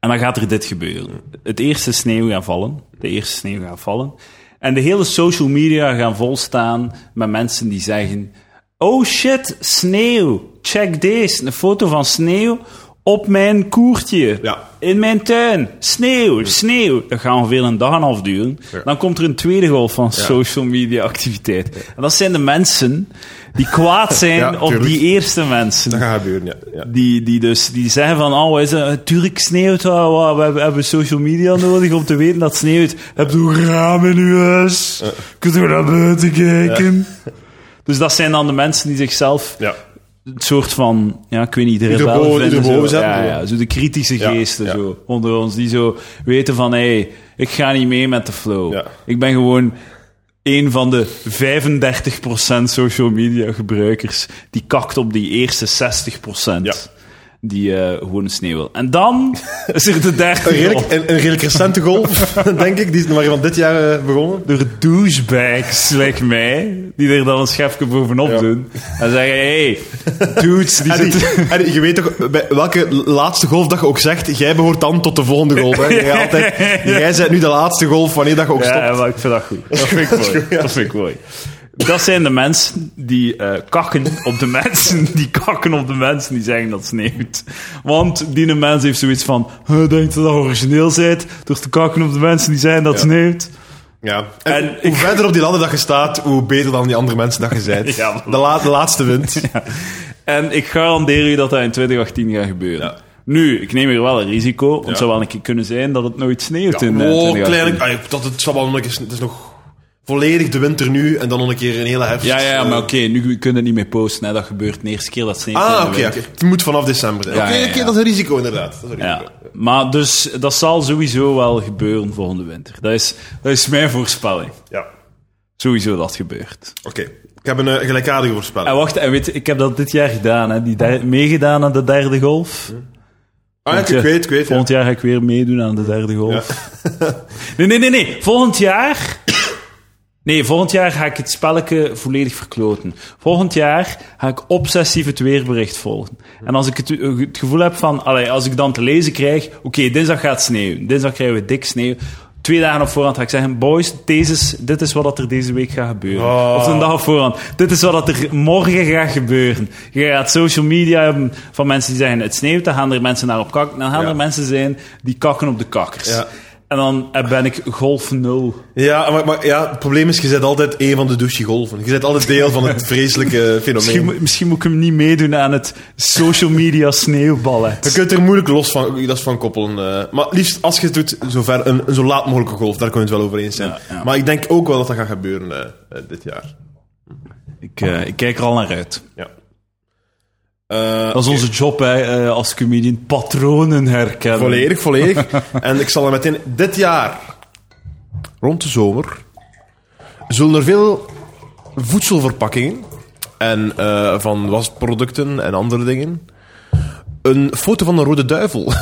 S1: En dan gaat er dit gebeuren. Het eerste sneeuw gaat vallen. De eerste sneeuw gaat vallen. En de hele social media gaan volstaan met mensen die zeggen... Oh shit, sneeuw. Check deze. Een foto van sneeuw op mijn koertje.
S2: Ja.
S1: In mijn tuin. Sneeuw, sneeuw. Dat gaat ongeveer een dag en een half duren. Dan komt er een tweede golf van social media activiteit. En dat zijn de mensen die kwaad zijn
S2: Ja,
S1: op
S2: tuurlijk.
S1: die eerste mensen.
S2: Dat gaat gebeuren, ja. ja.
S1: Die, die, dus, die zeggen van, oh, is het, tuurlijk sneeuwt, wel, wel, we hebben, hebben social media nodig om te weten dat het sneeuwt. Heb je een raam in uw huis? Kunt u naar buiten kijken? Dus dat zijn dan de mensen die zichzelf
S2: ja.
S1: een soort van, ja, ik weet niet, de
S2: Die
S1: rebel
S2: erboven- die
S1: vinden. zo.
S2: erboven zetten,
S1: ja,
S2: zo.
S1: ja, zo de kritische
S2: Ja,
S1: geesten
S2: ja.
S1: Zo, onder ons, die zo weten van, hé, hey, ik ga niet mee met de flow.
S2: Ja.
S1: Ik ben gewoon een van de 35% social media gebruikers die kakt op die eerste 60%.
S2: Ja.
S1: Die eh, gewoon een sneeuw wil. En
S2: [LAUGHS]
S1: dan is er de
S2: Een,
S1: derde
S2: redelijk,
S1: golf
S2: een, een redelijk recente golf, [LAUGHS] denk ik. Die is maar van dit jaar eh, begonnen.
S1: door douchebags, like mij, die er dan een schepje bovenop
S2: Ja.
S1: doen. En zeggen, hey, dudes, die
S2: [LAUGHS] En,
S1: zitten...
S2: die- en je weet toch, bij welke laatste golf dat je ook zegt, jij behoort dan tot de volgende golf. Hè? Jij, gaat [LAUGHS] altijd, jij bent nu de laatste golf wanneer dat je ook stopt.
S1: Ja, maar ik vind dat goed. [LAUGHS] Dat vind ik mooi. Dat vind ik mooi. Dat zijn de mensen die eh, kakken op de mensen [LAUGHS] die kakken op de mensen die zeggen dat het sneeuwt. Want die mens heeft zoiets van, "Huh, denk je dat je origineel bent door te kakken op de mensen die zeggen dat het sneeuwt?
S2: Ja. En,
S1: En
S2: hoe verder op die ladder dat je staat, hoe beter dan die andere mensen dat je [LAUGHS] bent.
S1: Ja,
S2: de, la- de laatste wint.
S1: En ik garandeer u dat dat in 2018 gaat gebeuren.
S2: Ja.
S1: Nu, ik neem hier wel een risico, want het
S2: Ja.
S1: zou wel een keer kunnen zijn dat het nooit sneeuwt in eh,
S2: Oh,
S1: 2018.
S2: klein, ah, dat het, zal wel nog een keer- het is nog volledig de winter nu en dan nog een keer een hele herfst.
S1: Ja, ja, ja,
S2: Eh,
S1: maar oké, nu kunnen we niet meer posten. Hè. Dat gebeurt de eerste keer dat het sneeuwt. in de
S2: Ah, oké,
S1: winter.
S2: oké. het moet vanaf december zijn.
S1: Ja,
S2: oké,
S1: ja, ja.
S2: oké, dat is een risico inderdaad. Dat is een
S1: Ja,
S2: risico.
S1: maar dus dat zal sowieso wel gebeuren volgende winter. Dat is, dat is mijn voorspelling.
S2: Ja.
S1: Sowieso dat gebeurt.
S2: Oké, ik heb een eh, gelijkaardige
S1: En
S2: voorspelling.
S1: wacht, en weet, je, ik heb dat dit jaar gedaan, hè, die der- meegedaan aan de derde golf.
S2: Ah, ik, ik
S1: Volgend jaar-
S2: weet, ik weet. Ja.
S1: Volgend jaar ga ik weer meedoen aan de derde golf. [LAUGHS] nee, nee, nee, nee. Volgend jaar. Nee, volgend jaar ga ik het spelletje volledig verkloten. Volgend jaar ga ik obsessief het weerbericht volgen. En als ik het, eh, het gevoel heb van, allee, als ik dan te lezen krijg, oké, dinsdag gaat sneeuwen, dinsdag krijgen we dik sneeuw. Twee dagen op voorhand ga ik zeggen, boys, deze is, dit is wat dat er deze week gaat gebeuren.
S2: Oh.
S1: Of een dag op voorhand. Dit is wat dat er morgen gaat gebeuren. Je gaat social media hebben van mensen die zeggen, het sneeuwt, dan gaan er mensen naar op kakken. Dan gaan
S2: Ja.
S1: er mensen zijn die kakken op de kakkers.
S2: Ja.
S1: En dan eh, ben ik golf nul.
S2: Ja, maar, maar ja, het probleem is, je zet altijd een van de douche golven. Je zet altijd deel van
S1: [LAUGHS]
S2: het vreselijke
S1: Misschien,
S2: fenomeen.
S1: moet- misschien moet ik hem niet meedoen aan het social media
S2: Je
S1: [LAUGHS] sneeuwballet.
S2: kunt er moeilijk los van, dat is van koppelen. eh. maar liefst, als je het doet, zo, ver, een, een zo laat mogelijke golf. Daar kun je het wel over eens zijn.
S1: Ja, ja.
S2: Maar ik denk ook wel dat dat gaat gebeuren eh, eh, dit jaar.
S1: Ik, eh, ik kijk er al naar uit.
S2: Ja. Eh,
S1: Dat is onze job hè, eh, als comedian, patronen herkennen.
S2: Volledig, [LAUGHS] volledig. en ik zal dan meteen... Dit jaar, rond de zomer, zullen er veel voedselverpakkingen en eh, van wasproducten en andere dingen een foto van een rode [LAUGHS] duivel.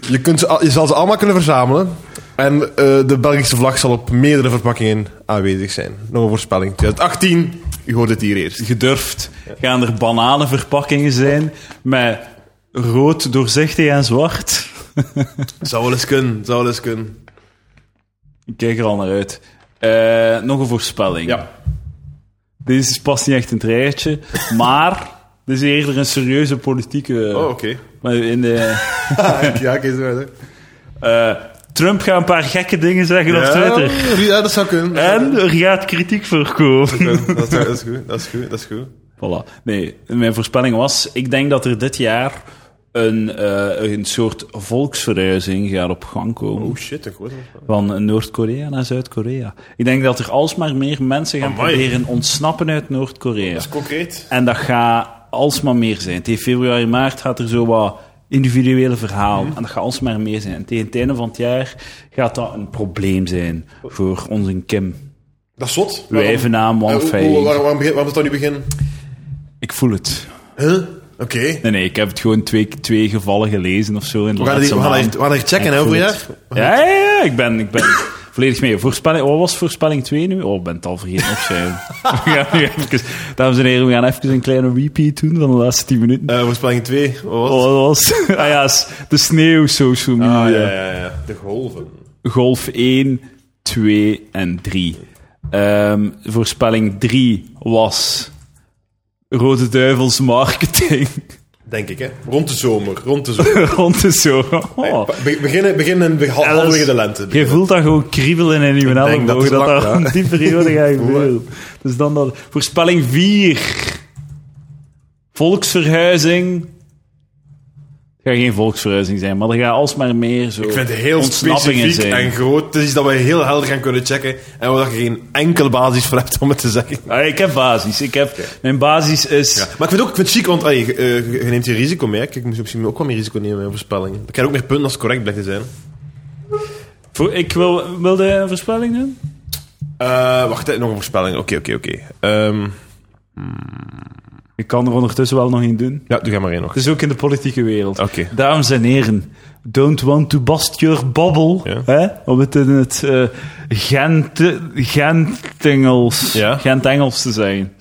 S2: je, kunt ze, al- je zal ze allemaal kunnen verzamelen. En eh, de Belgische vlag zal op meerdere verpakkingen aanwezig zijn. Nog een voorspelling. 2018, u hoort het hier eerst.
S1: Gedurfd. Gaan er bananenverpakkingen zijn met rood, doorzichtig en zwart?
S2: Zou wel eens kunnen, zou wel eens kunnen.
S1: Ik kijk er al naar uit. Eh, nog een voorspelling. Deze is pas niet echt een treitje, maar dit is eerder een serieuze politieke...
S2: Oh, oké.
S1: Maar in de...
S2: Ah, ja, oké, zo verder.
S1: Eh, Trump gaat een paar gekke dingen zeggen op Twitter.
S2: Ja, dat zou kunnen.
S1: En er gaat kritiek voor komen.
S2: Dat, zou- dat is goed, dat is goed, dat is goed.
S1: [LAUGHS] Voilà. Nee, mijn voorspelling was... Ik denk dat er dit jaar een, eh, een soort volksverhuizing gaat op gang komen.
S2: Oh shit, een grote
S1: Van Noord-Korea naar Zuid-Korea. Ik denk dat er alsmaar meer mensen gaan
S2: Amai.
S1: proberen ontsnappen uit Noord-Korea.
S2: Concreet?
S1: En dat gaat alsmaar meer zijn. Tegen februari, maart gaat er zo wat individuele verhaal.
S2: Mhm.
S1: En dat gaat alsmaar meer zijn. Tegen het einde van het jaar gaat dat een probleem zijn voor onze Kim.
S2: Dat is zot.
S1: Uw eigen naam,
S2: Eh,
S1: Wang
S2: hoe-
S1: Fei.
S2: hoe- Waarom waarom begin- waarom moet dat nu beginnen?
S1: Ik voel het.
S2: Huh? Oké.
S1: Nee, nee, ik heb het gewoon twee, twee gevallen gelezen of zo in de
S2: We gaan die-
S1: laatste
S2: we gaan
S1: maand.
S2: dat- we gaan dat checken,
S1: Ik
S2: hè,
S1: voel
S2: over
S1: het.
S2: jaar.
S1: Ja, ja, ja, ik ben, ik ben [LAUGHS] volledig mee. Voorspelling, wat was voorspelling 2 nu? Oh, ik ben het al vergeten opschrijven. [LAUGHS] we gaan nu even, dames en heren, we gaan even een kleine repeat doen van de laatste 10 minuten.
S2: Eh, voorspelling 2,
S1: Oh,
S2: wat was
S1: dat was, [LAUGHS] ah ja, s- de sneeuw social
S2: het?
S1: media.
S2: Ah, ja, ja, ja. De golven.
S1: Golf 1, 2 en 3. Ehm, voorspelling 3 was Rode Duivels marketing [LAUGHS]
S2: Denk ik, hè. Rond de zomer, rond de zomer.
S1: rond de zomer. [LAUGHS] Oh.
S2: Be- beginnen, beginnen be- hal-
S1: Ja, dat is-
S2: halverwege de lente.
S1: Je voelt dat gewoon kriebelen in je
S2: denk dat
S1: elleboog,
S2: het
S1: dat
S2: lang-
S1: daar
S2: ja.
S1: in die
S2: [LAUGHS]
S1: periode gaat gebeuren. Dus dan dat. Voorspelling 4. Volksverhuizing. Het gaat geen volksverhuizing zijn, maar er gaat alsmaar meer zo
S2: Ik vind het heel
S1: ontsnappingen
S2: specifiek
S1: zijn.
S2: en groot. Het is iets dat wij heel helder gaan kunnen checken. En waar je geen enkele basis voor hebt om het te zeggen.
S1: Ah, ik heb basis. Ik heb, Mijn basis is...
S2: Ja. Maar ik vind het ook ik vind het chic, want allee, je, eh, je neemt je risico mee. hè. Kijk, ik moet misschien ook wel meer risico nemen in voorspellingen. Ik krijg ook meer punten als het correct blijkt te zijn.
S1: Voor, ik wil, wilde een voorspelling doen?
S2: Eh, wacht, hè, nog een voorspelling. Oké, oké, oké. Ehm,
S1: Ik kan er ondertussen wel nog één doen.
S2: ja, doe jij maar één nog.
S1: Het is ook in de politieke wereld.
S2: Oké.
S1: Dames en heren, don't want to bust your bubble.
S2: Ja.
S1: Hè? Om het in het eh Gent, Gent-Engels
S2: Ja.
S1: Gent-Engels te zeggen.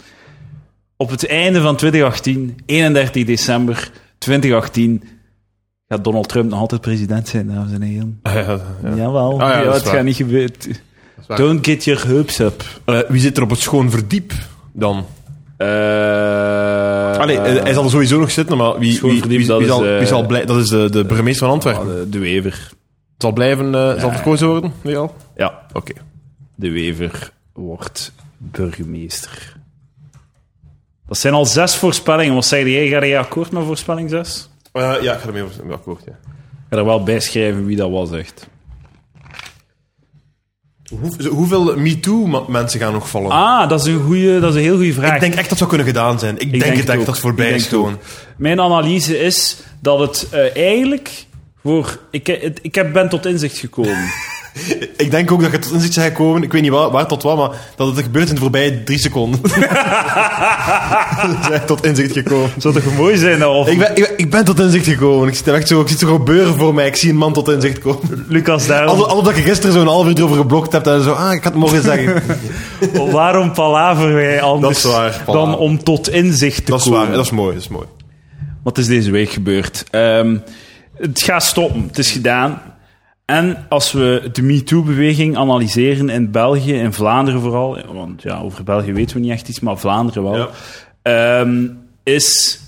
S1: Op het einde van 2018, 31 december 2018, gaat Donald Trump nog altijd president zijn, dames en heren.
S2: Ah, ja, ja.
S1: Jawel,
S2: Ah ja, dat
S1: ja,
S2: is
S1: het
S2: waar.
S1: gaat niet gebeuren.
S2: waar.
S1: Don't get your hopes up.
S2: Eh, wie zit er op het schoon verdiep dan?
S1: Eh,
S2: Allee, eh, hij zal er sowieso nog zitten, maar wie,
S1: Schoon
S2: wie,
S1: verdiep,
S2: wie-
S1: dat
S2: wie
S1: is,
S2: zal,
S1: eh,
S2: wie zal blij- Dat is de, de burgemeester van Antwerpen.
S1: de, de Wever.
S2: Zal blijven, eh, zal verkozen worden, weet je al?
S1: Ja,
S2: Oké.
S1: de Wever wordt burgemeester. Dat zijn al zes voorspellingen. Wat zei jij? Ga je akkoord met voorspelling 6?
S2: Eh, ja, ik ga ermee op- mee akkoord, ja.
S1: Ga er wel bij schrijven wie dat was, echt.
S2: Hoe- hoeveel MeToo-mensen gaan nog vallen?
S1: Ah, dat is een, goeie, dat is een heel goede vraag.
S2: ik denk echt dat zou kunnen gedaan zijn. Ik, denk,
S1: denk
S2: het
S1: het
S2: echt
S1: ook.
S2: dat het voorbij
S1: Ik
S2: is
S1: denk het
S2: gewoon.
S1: Mijn analyse is dat het eh, eigenlijk voor... Ik, het- ik heb, ben tot inzicht [LAUGHS] gekomen.
S2: Ik denk ook dat je tot inzicht zou komen, ik weet niet waar, waar tot wat, maar dat het gebeurt in de voorbije drie
S1: [LAUGHS]
S2: seconden. [LAUGHS] We zijn tot inzicht gekomen.
S1: Zou toch mooi zijn dat
S2: Ik ben, ik, ben, ik ben tot inzicht gekomen. Ik zit er echt zo, ik zit zo gebeuren voor mij. Ik zie een man tot inzicht komen.
S1: Lucas daarom...
S2: Alsof alsof dat ik gisteren zo'n half uur erover geblokt heb en zo, ah, ik ga het morgen
S1: [LAUGHS]
S2: zeggen.
S1: Waarom palaveren wij anders
S2: Dat is waar, voilà.
S1: dan om tot inzicht te
S2: dat is
S1: komen?
S2: waar, dat is mooi, dat is mooi.
S1: Wat is deze week gebeurd? Ehm, het gaat stoppen, het is gedaan. En als we de MeToo-beweging analyseren in België, in Vlaanderen vooral, want ja, over België weten we niet echt iets, maar Vlaanderen wel, ehm, is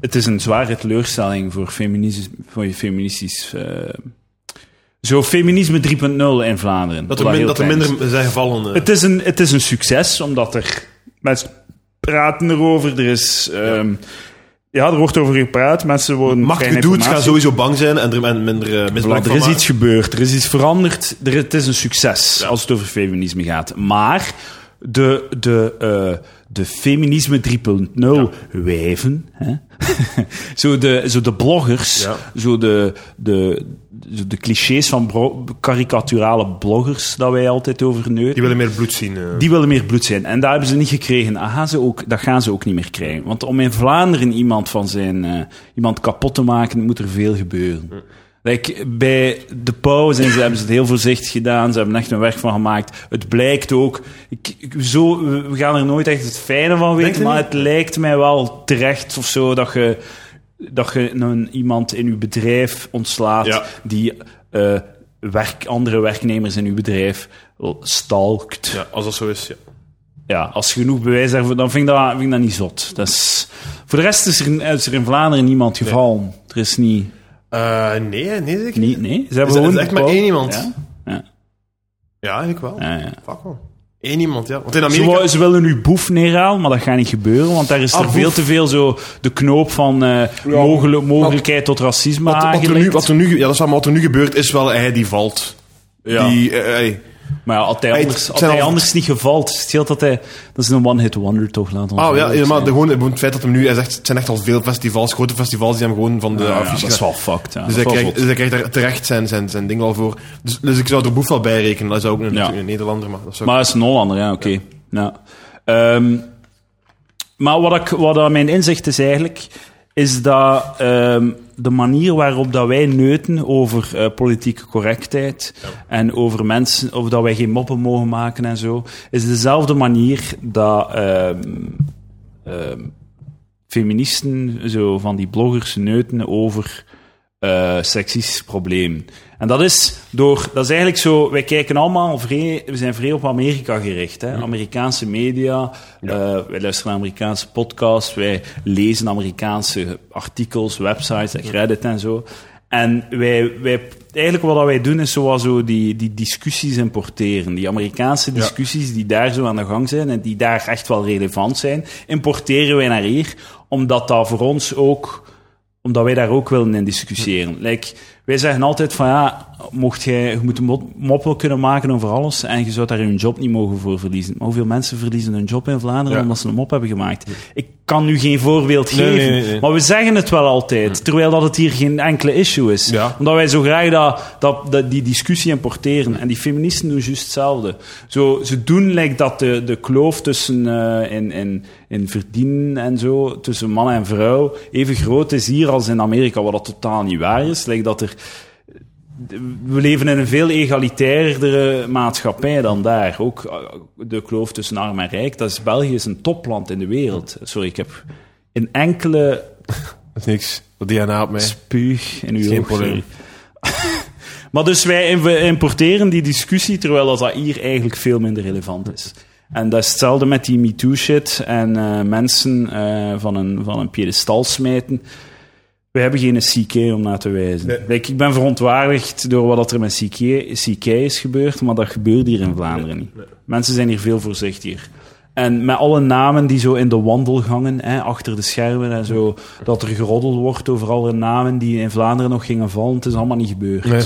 S1: het is een zware teleurstelling voor, feministisch, voor je feministisch... eh, zo, feminisme 3.0 in Vlaanderen.
S2: Dat
S1: wat
S2: er, min-
S1: heel
S2: dat er
S1: klein is.
S2: minder zijn gevallen. eh.
S1: Het is, een, het is een succes, omdat er mensen praten erover. Er is... ehm, ja, er wordt over gepraat. Mensen worden... krijgen
S2: Machtgedoet gaan
S1: informatie.
S2: sowieso bang zijn en, er, en minder eh, misbruik
S1: Voilà,
S2: van
S1: er is
S2: maken.
S1: iets gebeurd, er is iets veranderd. Er, het is een succes als het over feminisme gaat. Maar de, de, eh, de feminisme 3.0 wijven. Hè? [LAUGHS] zo, de, zo de bloggers,
S2: Ja.
S1: zo de, de, de, de clichés van bro- karikaturale bloggers dat wij altijd over neuten.
S2: Die willen meer bloed zien. eh.
S1: Die willen meer bloed zijn. En dat hebben ze niet gekregen. Dat gaan ze ook, dat gaan ze ook niet meer krijgen. Want om in Vlaanderen iemand van zijn, eh, iemand kapot te maken, moet er veel gebeuren. Like, bij de pauw zijn ze, hebben ze het heel voorzichtig gedaan. Ze hebben echt een werk van gemaakt. Het blijkt ook. Ik, ik- zo, we- we gaan er nooit echt het fijne van weten.
S2: je
S1: Maar
S2: niet?
S1: het lijkt mij wel terecht of zo dat je, dat je een, iemand in uw bedrijf ontslaat
S2: Ja.
S1: die eh, werk, andere werknemers in uw bedrijf stalkt
S2: Ja, als dat zo is, ja.
S1: ja, als genoeg bewijs daarvoor, dan vind ik dat, vind ik dat niet zot. Dat is, voor de rest is er, is er in Vlaanderen niemand gevallen. Er is niet...
S2: Eh, nee, nee zeker
S1: Nee, nee. Ze
S2: Is
S1: hebben
S2: er-
S1: gewoon
S2: is er echt maar
S1: bepaald-
S2: één iemand?
S1: Ja, ja,
S2: Ja, eigenlijk wel.
S1: ja, ja.
S2: Fuck wel. Eén iemand, ja. Want in
S1: Ze,
S2: Amerika...
S1: wou- ze willen nu boef neerhalen, maar dat gaat niet gebeuren, want daar is
S2: Ah,
S1: er
S2: boef.
S1: veel te veel zo de knoop van eh, mogel- mogelijkheid tot racisme
S2: Wat, wat, er nu,
S1: aangelegd.
S2: wat, er nu, ge- ja, dat is waar, maar wat er nu gebeurt, is wel hij die valt.
S1: Ja.
S2: Die, eh, eh,
S1: Maar ja, had hij
S2: Hey, het
S1: anders, had
S2: zijn
S1: hij
S2: al-
S1: anders niet gevalt, het scheelt dat hij... Dat is een one-hit wonder toch, laat ons
S2: ah ja,
S1: eerlijk
S2: ja, maar
S1: zijn.
S2: de, gewoon het feit dat hem nu... Hij zegt, het zijn echt al veel festivals, grote festivals, die hem gewoon van de
S1: Ja,
S2: affiche
S1: ja, dat is wel fucked, ja.
S2: Dus
S1: Dat is
S2: hij,
S1: wel
S2: krijgt, dus hij krijgt daar terecht zijn, zijn, zijn ding wel voor. Dus, dus ik zou er Boef wel bij rekenen. Dat is ook een,
S1: Ja.
S2: een Nederlander, maar dat zou
S1: Maar hij is een Hollander, ja, oké. Ja. Ehm, maar wat, ik, wat dat mijn inzicht is eigenlijk, is dat ehm, de manier waarop dat wij neuten over eh, politieke correctheid en over mensen, of dat wij geen moppen mogen maken en zo, is dezelfde manier dat ehm, ehm, feministen, zo van die bloggers, neuten over eh seksistisch probleem. En dat is door, dat is eigenlijk zo, wij kijken allemaal vrij, we zijn vrij op Amerika gericht, hè? Amerikaanse media, eh, wij luisteren naar Amerikaanse podcasts, wij lezen Amerikaanse artikels, websites, like Reddit en zo. En wij, wij, eigenlijk wat dat wij doen is zoals zo die, die discussies importeren. Die Amerikaanse discussies die daar zo aan de gang zijn en die daar echt wel relevant zijn, importeren wij naar hier, omdat dat voor ons ook omdat wij daar ook willen in discussiëren. Like, wij zeggen altijd van ja, mocht jij, je moet mo- moppen kunnen maken over alles en je zou daar je job niet mogen voor verliezen. Maar hoeveel mensen verliezen hun job in Vlaanderen
S2: Ja.
S1: omdat ze een mop hebben gemaakt? Ik kan nu geen voorbeeld
S2: Nee,
S1: geven,
S2: nee, nee, nee.
S1: maar we zeggen het wel altijd, terwijl dat het hier geen enkele issue is.
S2: Ja.
S1: Omdat wij zo graag dat, dat, dat die discussie importeren. En die feministen doen juist hetzelfde. Zo, ze doen like dat de, de kloof tussen eh, in, in, in verdienen en zo, tussen man en vrouw, even groot is hier als in Amerika, wat dat totaal niet waar is. Like dat er, we leven in een veel egalitairdere maatschappij dan daar. Ook eh, de kloof tussen arm en rijk. Dat is, België is een topland in de wereld. Sorry, ik heb een enkele
S2: Dat is niks. Dat DNA op mij.
S1: spuug in uw
S2: Geen
S1: oog,
S2: probleem.
S1: sorry. [LAUGHS] maar dus wij in- we importeren die discussie, terwijl dat, dat hier eigenlijk veel minder relevant is. En dat is hetzelfde met die MeToo-shit en eh, mensen eh, van, een, van een piedestal smijten. We hebben geen CK om naar te wijzen. Like, ik ben verontwaardigd door wat dat er met CK, CK is gebeurd, maar dat gebeurt hier in Vlaanderen niet. Mensen zijn hier veel voorzichtiger. En met alle namen die zo in de wandelgangen, hè, achter de schermen en zo, dat er geroddeld wordt over alle namen die in Vlaanderen nog gingen vallen, het is allemaal niet gebeurd.
S2: Nee.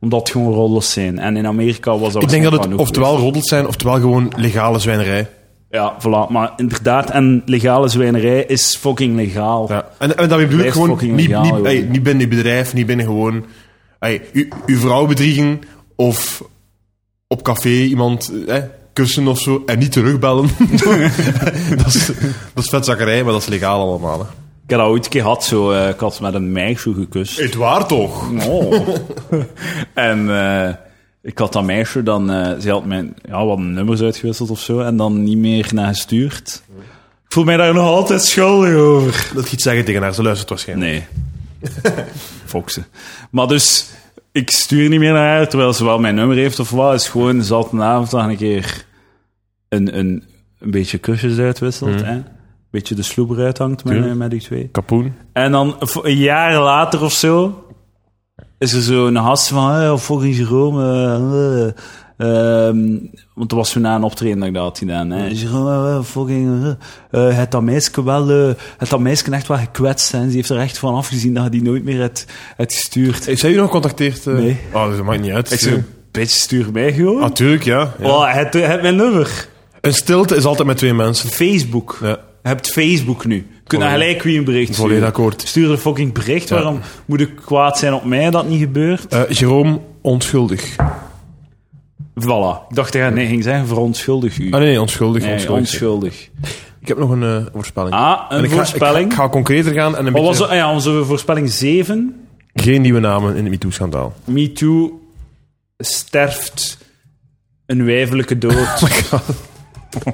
S1: Omdat het gewoon roddels zijn. En in Amerika was dat
S2: Ik denk dat
S1: waarschijnlijk
S2: het
S1: wel ook
S2: oftewel roddels zijn, oftewel gewoon legale zwijnerij.
S1: Ja, voilà. Maar inderdaad, en legale zwijnerij is fucking legaal.
S2: Ja. En, en dat bedoel ik
S1: Blijft
S2: gewoon
S1: fucking
S2: niet,
S1: legaal,
S2: niet,
S1: joh.
S2: ey, niet binnen je bedrijf, niet binnen gewoon... ey, u- uw vrouw bedriegen of op café iemand eh, kussen of zo en niet terugbellen. [LAUGHS] dat, is, dat is vetzakkerij, maar dat is legaal allemaal. Hè.
S1: Ik heb dat ooit een keer gehad, zo, eh, ik had met een meisje gekust.
S2: Het waar toch?
S1: Oh. [LAUGHS] en eh, ik had dat meisje dan... eh ze had mijn... Ja, wat nummers uitgewisseld of zo. En dan niet meer naar gestuurd. Ik voel mij daar nog altijd schuldig over.
S2: Dat je iets zeggen tegen haar, ze luistert waarschijnlijk.
S1: Nee. [LAUGHS] Foxen. Maar dus... Ik stuur niet meer naar haar, terwijl ze wel mijn nummer heeft of wat. is gewoon, ze had een avond dan een keer een, een, een beetje kusjes uitwisselt. Hè? Een beetje de sloeber uithangt met,
S2: Tuurlijk.
S1: eh, met die twee.
S2: Kapoen.
S1: En dan v- een jaar later of zo is er zo'n gast van, hey, fucking Jerome. eh, eh, ehm, want dat was toen na een optreden dat ik dat had gedaan.
S2: Mm.
S1: Hè. Jerome, eh, fucking, eh, eh, het dat meisje wel, eh, het dat meisje echt wel gekwetst. Hè. Ze heeft er echt van afgezien dat je die nooit meer hebt, hebt gestuurd.
S2: Heeft zij u nog gecontacteerd? eh?
S1: Nee.
S2: Oh, dat maakt niet uit.
S1: Ik zo, bitch, stuur mij gewoon.
S2: Natuurlijk, Ah, ja. ja.
S1: Oh, hij heeft mijn nummer.
S2: Een stilte is altijd met twee mensen.
S1: Facebook.
S2: Ja.
S1: Je hebt Facebook nu. Je kunt naar gelijk wie een bericht sturen.
S2: Volledig akkoord.
S1: Stuur een fucking bericht. Waarom moet ik kwaad zijn op mij dat niet gebeurt?
S2: Eh Jerome, onschuldig. Ah,
S1: Voilà. Ik dacht dat hij nee, ging zeggen verontschuldig u.
S2: Ah nee, nee, onschuldig.
S1: Nee,
S2: onschuldig.
S1: onschuldig.
S2: Ik heb nog een eh, voorspelling.
S1: Ah,
S2: En
S1: een
S2: ik ga- ik ga-
S1: voorspelling.
S2: Ik ga, concreter gaan en een
S1: Wat
S2: beetje...
S1: was ah ja, onze voorspelling 7?
S2: Geen nieuwe namen in het MeToo-schandaal.
S1: MeToo sterft een wijfelijke
S2: [LAUGHS] Oh
S1: dood. [LAUGHS]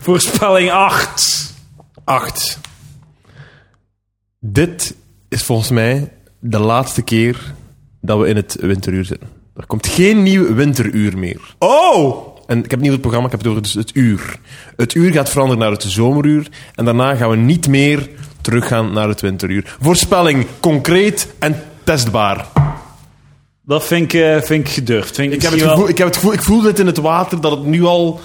S1: voorspelling 8.
S2: 8. Dit is volgens mij de laatste keer dat we in het winteruur zitten. Er komt geen nieuw winteruur meer.
S1: Oh!
S2: En ik heb niet het programma, ik heb het over dus het, het uur. Het uur gaat veranderen naar het zomeruur. En daarna gaan we niet meer teruggaan naar het winteruur. Voorspelling, concreet en testbaar.
S1: Dat vind ik, eh, vind ik gedurfd. Vind ik,
S2: Ik heb, het
S1: misschien
S2: gevoel, ik heb het gevoel, ik voel dit in het water dat het nu al.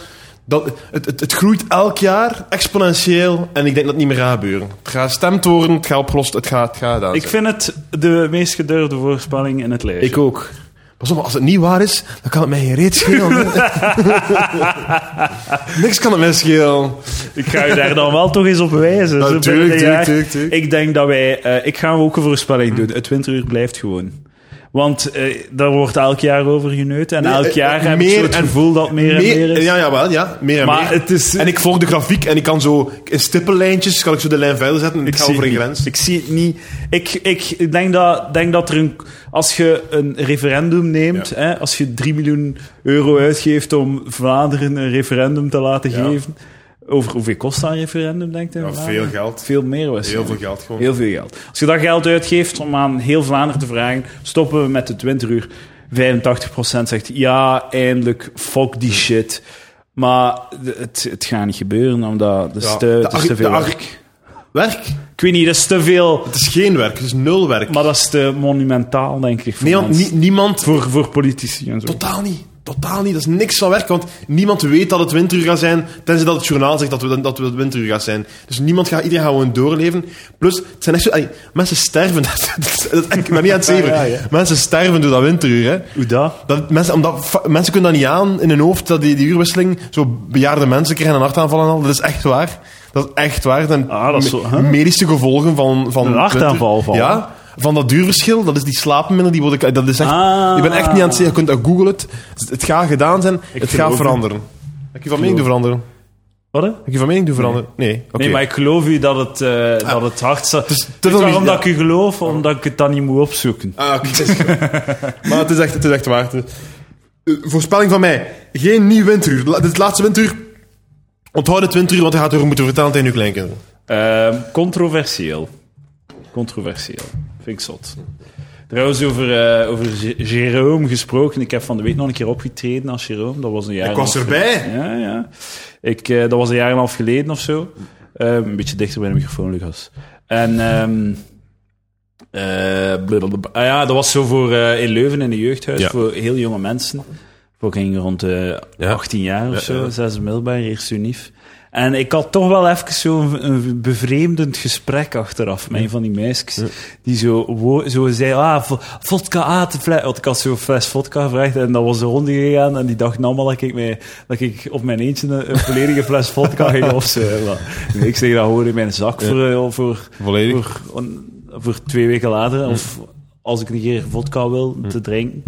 S2: Dat, het, het, het groeit elk jaar exponentieel en ik denk dat het niet meer gaat gebeuren. Het gaat gestemd worden, het gaat opgelost, het gaat, het gaat gedaan
S1: wel- ik
S2: zijn.
S1: vind het de meest gedurfde voorspelling in het leven.
S2: Ik ook. Pas op, als het niet waar is, dan kan het mij geen
S1: [LAUGHS]
S2: reet schelen. Niks kan het mij schelen.
S1: Ik ga u daar dan wel toch eens op wijzen. Zo
S2: tuurlijk,
S1: binnen een
S2: tuurlijk,
S1: jaar.
S2: tuurlijk, tuurlijk.
S1: Ik denk dat wij... eh, ik ga ook een voorspelling doen. Het winteruur blijft gewoon. Want eh, daar wordt elk jaar over geneut. En
S2: Nee,
S1: elk
S2: eh,
S1: jaar
S2: eh,
S1: heb ik
S2: meer
S1: zo het
S2: en-
S1: gevoel dat meer en meer is.
S2: ja, jawel, ja. Meer en
S1: Maar
S2: meer.
S1: het is...
S2: En ik volg de grafiek en ik kan zo in stippellijntjes kan ik zo de lijn verder zetten en ik, ga
S1: zie
S2: over een
S1: het niet.
S2: grens.
S1: Ik zie het niet. Ik, ik, ik denk, dat, denk dat er een, als je een referendum neemt,
S2: Ja.
S1: hè, als je 3 miljoen euro uitgeeft om Vlaanderen een referendum te laten
S2: Ja.
S1: geven. Over hoeveel kost dat referendum, denk je?
S2: Ja, veel geld.
S1: Veel meer was
S2: Heel veel geld gewoon.
S1: Heel veel geld. Als je dat geld uitgeeft om aan heel Vlaanderen te vragen, stoppen we met het winteruur. 85% zegt ja, eindelijk, fuck die shit. Maar de- het, het gaat niet gebeuren, omdat de
S2: Ja,
S1: stuit
S2: de
S1: is te
S2: arg-
S1: veel
S2: de arg-
S1: werk.
S2: Werk?
S1: Ik weet niet, dat is te veel,
S2: Het is geen werk, het is nul werk.
S1: maar dat is te monumentaal, denk ik. Voor,
S2: Niemand,
S1: mensen.
S2: nie- niemand
S1: voor, voor politici en zo.
S2: Totaal niet. Totaal niet. Dat is niks van werk, want niemand weet dat het winteruur gaat zijn, tenzij dat het journaal zegt dat we dat we het winteruur gaat zijn. Dus niemand gaat, iedereen gaat gewoon doorleven. Plus, het zijn echt zo, allee, mensen sterven. [LAUGHS] Dat, dat, dat- ik ben niet aan het zeven.
S1: Ja, ja.
S2: Mensen sterven door dat winteruur, hè.
S1: Hoe dat?
S2: Dat, mensen, omdat, fa- mensen kunnen dat niet aan in hun hoofd, dat die, die uurwisseling, zo bejaarde mensen krijgen een hartaanval en al. Dat is echt waar. Dat is echt waar. Dan
S1: Ah, dat is zo, hè?
S2: medische gevolgen van... van
S1: Een hartaanval van.
S2: Ja, van dat duurverschil. Dat is die slaapmiddel, die worden, dat is echt...
S1: Ah.
S2: Ik ben echt niet aan het zeggen, je kunt dat googlen. Het, het gaat gedaan zijn, het
S1: geloof
S2: gaat
S1: het.
S2: veranderen. Heb je van mening doen veranderen?
S1: Wat? hè?
S2: Heb je van mening doen veranderen? Nee, oké.
S1: Nee, maar ik geloof u dat het, eh, dat het hard staat.
S2: is
S1: Dus
S2: te veel
S1: waarom
S2: mis-
S1: dat ik u geloof? Omdat ik het dan niet moet opzoeken.
S2: Ah, oké. [LAUGHS] maar het is echt, het is echt waar. Het is- Eh, voorspelling van mij. Geen nieuw winteruur. La- dit is het laatste winteruur. Onthoud het winteruur, want hij gaat erover moeten vertellen tegen uw kleinkinderen.
S1: Ehm, controversieel. Controversieel. Vind ik zot. Trouwens, over, eh over J- Jérôme gesproken. Ik heb van de week nog een keer opgetreden als Jérôme. Dat was een jaar
S2: Ik was
S1: en een half
S2: erbij.
S1: geleden. Ja, ja. Ik, eh, dat was een jaar en een half geleden of zo. Ehm, een beetje dichter bij de microfoon, Lucas. En... ehm eh, blablabla. ah ja, dat was zo voor eh, in Leuven in een jeugdhuis
S2: Ja.
S1: voor heel jonge mensen. Fucking rond de
S2: Ja.
S1: 18 jaar of
S2: Ja,
S1: zo,
S2: ja.
S1: zesde middelbaar, eerste unief. En ik had toch wel even zo'n een bevreemdend gesprek achteraf met een van die meisjes. Die zo, wo- zo zei, ah, vo- vodka, ah, te fles. Want ik had zo'n fles vodka gevraagd en dat was de ronde gegaan. En die dachten allemaal dat ik, mij, dat ik op mijn eentje een, een volledige fles vodka
S2: [LAUGHS]
S1: ging opzuigen. Maar nee, Ik zeg dat gewoon in mijn zak voor, eh, voor
S2: Volledig.
S1: voor, on- voor twee weken later, of als ik een keer vodka wil te drinken.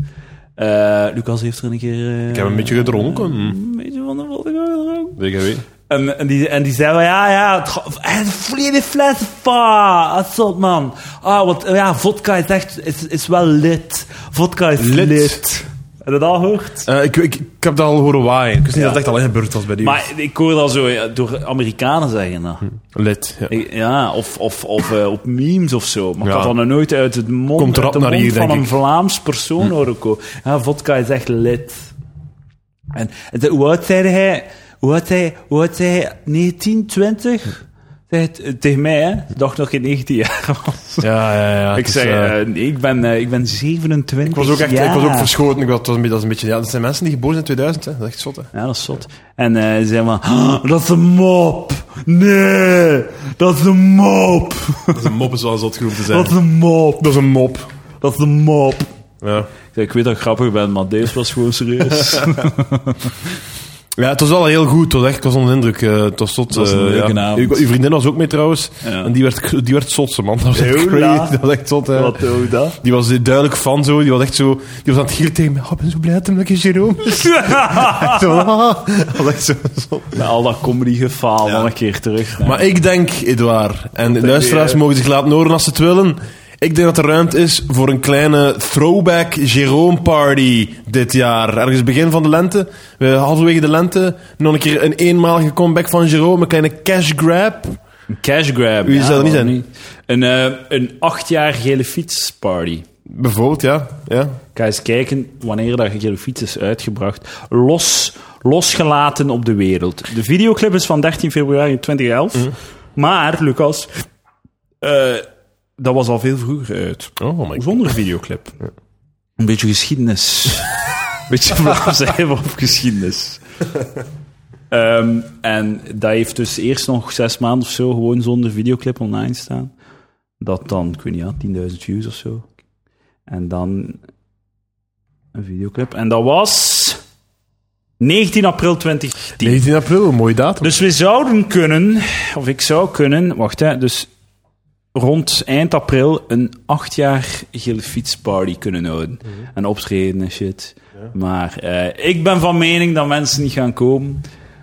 S1: Eh, Lucas heeft er een keer... eh,
S2: Ik heb een beetje gedronken.
S1: Een beetje van de vodka gedronken.
S2: Zeker weten.
S1: En, en, die, en die zei wel, ja, ja, het ga- en een volledige fles, pa, dat soort man. Ah, want eh, ja, vodka is echt, is, is wel lit. Vodka is
S2: Lit.
S1: lit. Heb je dat al gehoord?
S2: Eh, ik, ik, ik heb dat al horen waaien. Ik wist niet
S1: Ja.
S2: dat het echt alleen gebeurd was bij die
S1: Maar ik hoor dat zo ja, door Amerikanen zeggen. dat.
S2: lid. Ja.
S1: Ik- Ja, of, of, of eh, op memes of zo. Maar ik
S2: Ja.
S1: had dat nog nooit uit het mond,
S2: Komt er
S1: uit de
S2: op naar
S1: mond
S2: hier,
S1: van
S2: denk
S1: een
S2: ik. Hm.
S1: Vlaams persoon, hoor ik ook. Ja, vodka is echt lid. En, en de- hoe oud zei hij? Hoe oud zei, hoe oud zei hij? 19, 20? Zei het, eh, tegen mij, hè? Ik dacht nog geen 19 jaar [LAUGHS] was.
S2: Ja, ja, ja.
S1: ik zei, eh, nee, ik ben, eh, ik ben 27
S2: ik was ook echt ik was ook
S1: jaar.
S2: verschoten. Ik was, dat was een beetje, dat is een beetje, ja, dat zijn mensen die geboren zijn in 2000. Hè. Dat is echt zot, hè.
S1: Ja, dat is zot. En eh, ze zei maar, "Ah, dat is een mop. Nee, dat is een mop.
S2: Dat is een mop, is wel zot genoeg te zijn.
S1: Dat is een mop.
S2: Dat is een mop.
S1: Dat is een mop.
S2: Ja. [LAUGHS]
S1: Ik, zei, ik weet dat ik grappig ben, maar deze was gewoon serieus.
S2: Ja, het was wel heel goed. Het was echt, ik was onder de indruk. eh, het was tot...
S4: Het was een
S2: eh,
S4: leuke
S2: ja.
S4: avond.
S2: Uw, uw vriendin was ook mee trouwens.
S4: Ja.
S2: En die werd, [LAUGHS] die werd zotse, man. Dat was echt
S1: Hela.
S2: crazy. Dat was echt zot, hè.
S1: Wat eh. doe dat?
S2: Die was eh, duidelijk fan zo. Die was echt zo... Die was aan het gieren tegen me. Oh, ik ben zo blij dat hem lekker Jeroen is." [LAUGHS] Echt zo, [LAUGHS] ah. Dat was echt zo zot.
S1: Met al dat comedy gefaal nog een keer terug. Nee.
S2: Maar ik denk, Edouard, en de luisteraars
S1: weer, hè?
S2: mogen zich laten horen als ze het willen. Ik denk dat er ruimte is voor een kleine throwback Jerome Party dit jaar. Ergens begin van de lente, eh, halverwege de lente, nog een keer een eenmalige comeback van Jerome, een kleine cash grab.
S1: Een cash grab.
S2: Wie zou dat niet
S1: waarom
S2: zijn?
S1: Een, eh, een achtjaar gele fietsparty.
S2: Bijvoorbeeld, ja. ja.
S1: Ga eens kijken wanneer dat gele fiets is uitgebracht. Los, losgelaten op de wereld. De videoclip is van 13 februari 2011.
S2: Mhm.
S1: Maar, Lucas, eh, dat was al veel vroeger uit.
S2: Oh my god.
S1: Zonder videoclip. Een beetje [LAUGHS] geschiedenis. Een beetje Vlaams even op geschiedenis. [LAUGHS] Ehm, en dat heeft dus eerst nog zes maanden of zo gewoon zonder videoclip online staan. Dat dan, ik weet niet, ja, 10.000 views of zo. En dan een videoclip. En dat was 19 april 2010.
S2: 19 april, een mooie datum.
S1: Dus we zouden kunnen, of ik zou kunnen, wacht hè, dus rond eind april een acht jaar gele fietsparty kunnen houden.
S2: Mhm.
S1: En optreden en shit. Maar eh, ik ben van mening dat mensen niet gaan komen.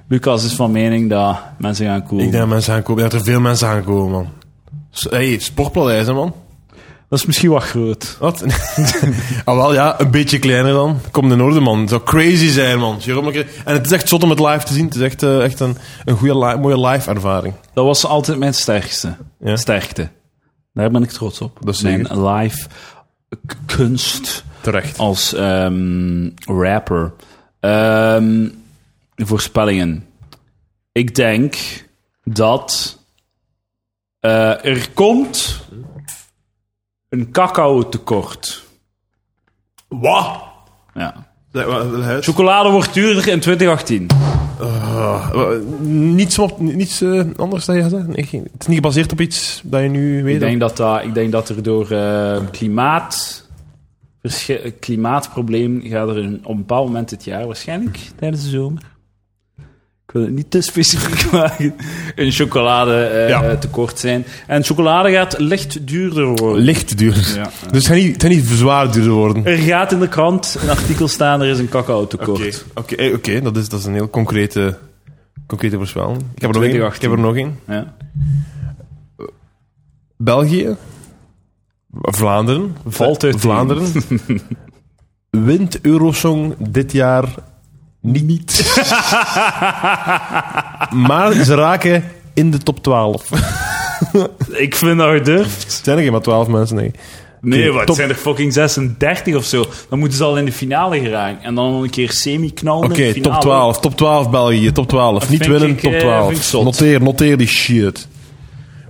S1: Lucas is van mening dat mensen gaan komen.
S2: Ik denk dat mensen gaan komen. Ik denk dat er veel mensen gaan komen, man. S- Hey, sportpaleis, hè, man.
S1: Dat is misschien wat groot.
S2: Wat? [LAUGHS] ah, wel ja, een beetje kleiner dan. Kom de Noorden, man. Het zou crazy zijn, man. Jerome, ik- en het is echt zot om het live te zien. Het is echt, eh, echt een, een goede li- mooie live ervaring.
S1: Dat was altijd mijn sterkste.
S2: Ja.
S1: Sterkte. Daar ben ik trots op.
S2: Dat is
S1: mijn live k- kunst.
S2: Terecht.
S1: als ehm, rapper. Ehm, voorspellingen. Ik denk dat eh, er komt een cacao tekort.
S2: Wat?
S1: Ja. Chocolade wordt duurder in 2018.
S2: niets wat- niets eh, anders dat je gezegd hebt? Ik- Het is niet gebaseerd op iets dat je nu weet.
S1: Ik denk dat, dat, ik denk dat er door eh, klimaat... verschi- klimaatprobleem gaat er een, op een bepaald moment dit jaar, waarschijnlijk tijdens de zomer. Ik wil het niet te specifiek [LAUGHS] maken. Een chocolade eh,
S2: Ja.
S1: tekort zijn. En chocolade gaat licht duurder worden.
S2: Licht duur.
S1: Ja.
S2: Dus het gaat niet, het gaat niet zwaar duurder worden.
S1: Er gaat in de krant een artikel staan, er is een cacao tekort.
S2: Oké, oké, eh, oké, dat, is, dat is een heel concrete, concrete voorspelling. Ik heb er nog één. Ik
S1: 2018.
S2: heb er nog één.
S1: Ja.
S2: België, Vlaanderen,
S1: Valt uit.
S2: [LAUGHS] Vlaanderen wint Eurosong dit jaar [LAUGHS] niet. maar ze raken in de top [LAUGHS] 12. Het
S1: Ik vind dat gedurfd.
S2: zijn er geen maar 12 mensen, nee.
S1: Nee, wat het
S2: top.
S1: zijn er fucking 36 of zo. Dan moeten ze al in de finale geraken. En dan nog een keer semi-knallen
S2: Oké,
S1: in de finale.
S2: top 12, top 12 België, top 12. Niet
S1: vind
S2: winnen,
S1: ik,
S2: top
S1: eh,
S2: 12.
S1: vind ik zot.
S2: noteer, noteer die shit.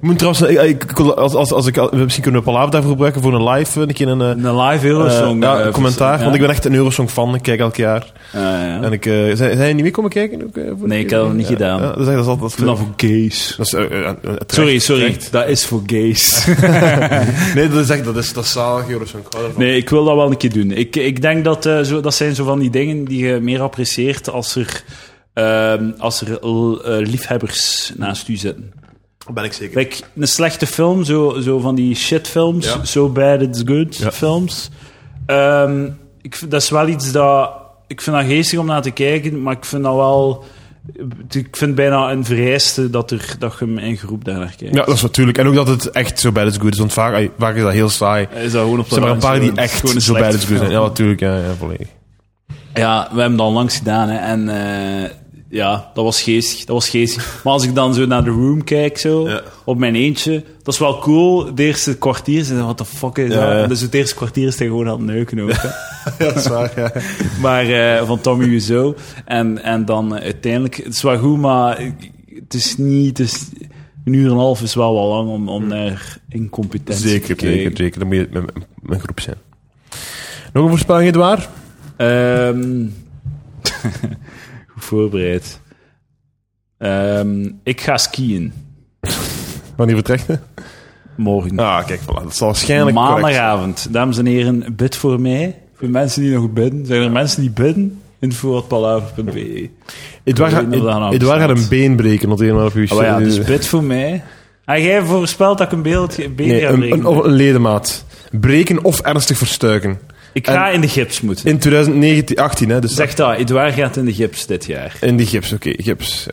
S2: Ik Moet trouwens, ik, ik- ik- als, als, als ik, eh, misschien kunnen we Palaver daarvoor gebruiken voor een live, een keer een, eh,
S1: Een live Eurosong.
S2: eh, ja,
S1: eh,
S2: een commentaar.
S1: ja.
S2: Want ik ben echt een Eurosong-fan, ik kijk elk jaar.
S1: Ja, ja.
S2: En ik, eh, zijn, zijn jullie niet mee komen kijken? Ook, eh, voor de
S1: Nee, ik
S2: keer?
S1: heb dat niet
S2: Ja,
S1: gedaan.
S2: ja, dat is echt- dat is altijd- dat is-
S1: Vanaf voor gays.
S2: dat is, eh, eh, eh, terecht,
S1: Sorry, sorry.
S2: terecht.
S1: Dat is voor
S2: [LAUGHS] Oh.
S1: gays.
S2: Nee, dat is echt, dat is, dat is zalig, Eurosong. Ik hou daarvan.
S1: nee, ik wil dat wel een keer doen. Ik, ik denk dat eh, zo, dat zijn zo van die dingen die je meer apprecieert als er, ehm, als er l- eh, liefhebbers naast u zitten.
S2: Dat ben ik zeker.
S1: Like, een slechte film, zo, zo van die shitfilms,
S2: Ja.
S1: So Bad It's Good
S2: Ja.
S1: films. Ehm, ik, vind- dat is wel iets dat... Ik vind dat geestig om naar te kijken, maar ik vind dat wel... Ik vind het bijna een vereiste dat, er, dat je hem in groep daarnaar kijkt.
S2: Ja, dat is natuurlijk. En ook dat het echt zo bad is good is. Want vaak, eh, vaak is dat heel saai. Er
S1: Is dat gewoon op de
S2: zijn maar een
S1: rand,
S2: paar die
S1: gewoon- gewoon
S2: echt
S1: een
S2: zo bad
S1: slechte
S2: is good zijn. Ja,
S1: film.
S2: natuurlijk. Ja, ja,
S1: [LAUGHS]
S2: volledig.
S1: Ja, we hebben dat langs gedaan. Hè, en eh, ja, dat was geestig. Dat was geestig. Maar als ik dan zo naar de room kijk, zo,
S2: Ja.
S1: op mijn eentje, dat is wel cool. De eerste kwartier, ze wat de fuck is
S2: Ja,
S1: dat?
S2: ja.
S1: En Dus het eerste kwartier is hij gewoon aan het neuken ook.
S2: [LAUGHS]
S1: hè.
S2: Ja, dat is waar, ja.
S1: Maar eh, van Tommy Wiseau. En, en dan eh, uiteindelijk, het is wel goed, maar ik- het is niet... Het is, een uur en een half is wel wel lang om, om naar incompetentie te
S2: Hm. Zeker,
S1: kijken.
S2: zeker, zeker. Dan moet je met met een groep zijn. Nog een voorspelling, Edouard?
S1: Ehm [LAUGHS] goed voorbereid. Ehm, ik ga skiën
S2: Wanneer vertrekt hè?
S1: morgen.
S2: Ah, kijk, voilà. Dat zal waarschijnlijk correct zijn.
S1: Maandagavond. Dames en heren, bid voor mij. Voor mensen die nog bidden. Zijn er mensen die bidden? info.palaver.be.
S2: Edouard,
S1: Ik weet niet of dat
S2: gaat-
S1: nou
S2: Edouard gaat een
S1: bestaat.
S2: been breken, want helemaal op uw
S1: Oh ja,
S2: shit.
S1: dus bid voor mij. En jij voorspelt dat ik een beeld een been
S2: Nee,
S1: ga
S2: een,
S1: breken.
S2: een, of een ledemaat. Breken of ernstig verstuiken.
S1: ik ga in de gips moeten.
S2: In 2019, 18, hè, dus
S1: Zeg dat, Edouard gaat in de gips dit jaar.
S2: in die gips, oké, gips.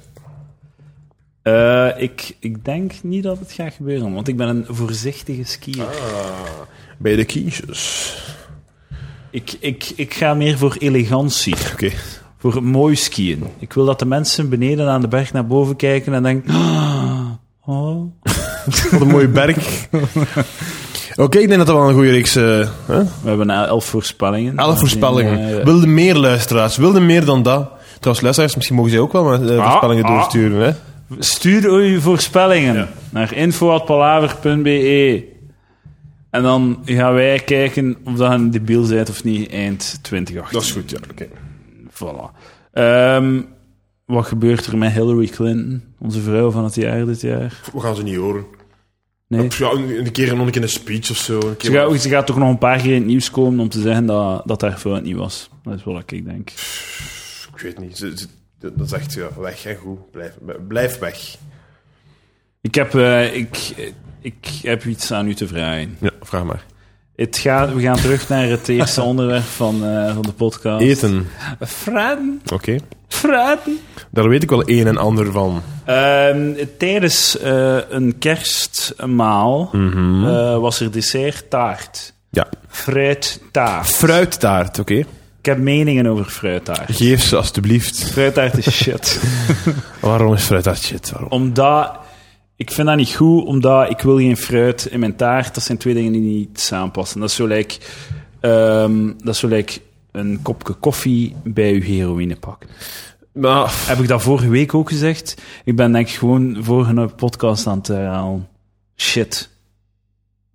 S1: Eh, ik, ik denk niet dat het gaat gebeuren, want ik ben een voorzichtige skier.
S2: Bij de kiesjes.
S1: Ik, ik, ik ga meer voor elegantie,
S2: Oké.
S1: voor mooi skiën. Ik wil dat de mensen beneden aan de berg naar boven kijken en denken... [GASPS] "Ah, Oh,
S2: Wat een mooie [LAUGHS] berg. Oké, ik denk dat dat wel een goede reeks... eh hè?
S1: we hebben eh, elf voorspellingen.
S2: Elf voorspellingen.
S1: Eh,
S2: Wilde meer luisteraars, wilde meer dan dat. Trouwens, luisteraars, misschien mogen zij ook wel eh, voorspellingen
S1: ah.
S2: doorsturen. Hè?
S1: Stuur uw voorspellingen naar info.palaver.be. En dan gaan wij kijken of dat een debiel bent of niet eind 2018.
S2: goed, ja. oké.
S1: Voilà. Ehm, wat gebeurt er met Hillary Clinton, onze vrouw van het jaar dit jaar?
S2: We gaan ze niet horen.
S1: Nee.
S2: Ja, een een keer nog een keer een speech of zo. Een
S1: Ze
S2: keer
S1: gaat, ze gaat toch nog een paar keer in het nieuws komen om te zeggen dat, dat haar fout niet was. Dat is wat ik denk.
S2: Ik weet niet. Ze- ze- Dat is echt ja, weg en goed. Blijf, blijf weg.
S1: Ik heb, eh, ik, ik heb iets aan u te vragen.
S2: Ja, vraag maar.
S1: Het gaat, we gaan terug naar het eerste onderwerp van, eh, van de podcast.
S2: Eten.
S1: Fraden,
S2: Oké.
S1: fraden.
S2: Daar weet ik wel een en ander van.
S1: Ehm, tijdens eh, een kerstmaal eh, was er dessert taart.
S2: Mhm. Ja.
S1: Fruittaart.
S2: Fruittaart, oké.
S1: Ik heb meningen over fruittaart.
S2: Geef ze alstublieft.
S1: Fruittaart is shit.
S2: Waarom is fruittaart shit? Waarom?
S1: omdat, ik vind dat niet goed, omdat ik wil geen fruit in mijn taart. Dat zijn twee dingen die niet samenpassen. Dat is zo like, ehm, dat is zo like een kopje koffie bij uw heroïne pakken.
S2: Maar,
S1: Heb ik dat vorige week ook gezegd? Ik ben denk ik gewoon vorige podcast aan het herhalen. Shit.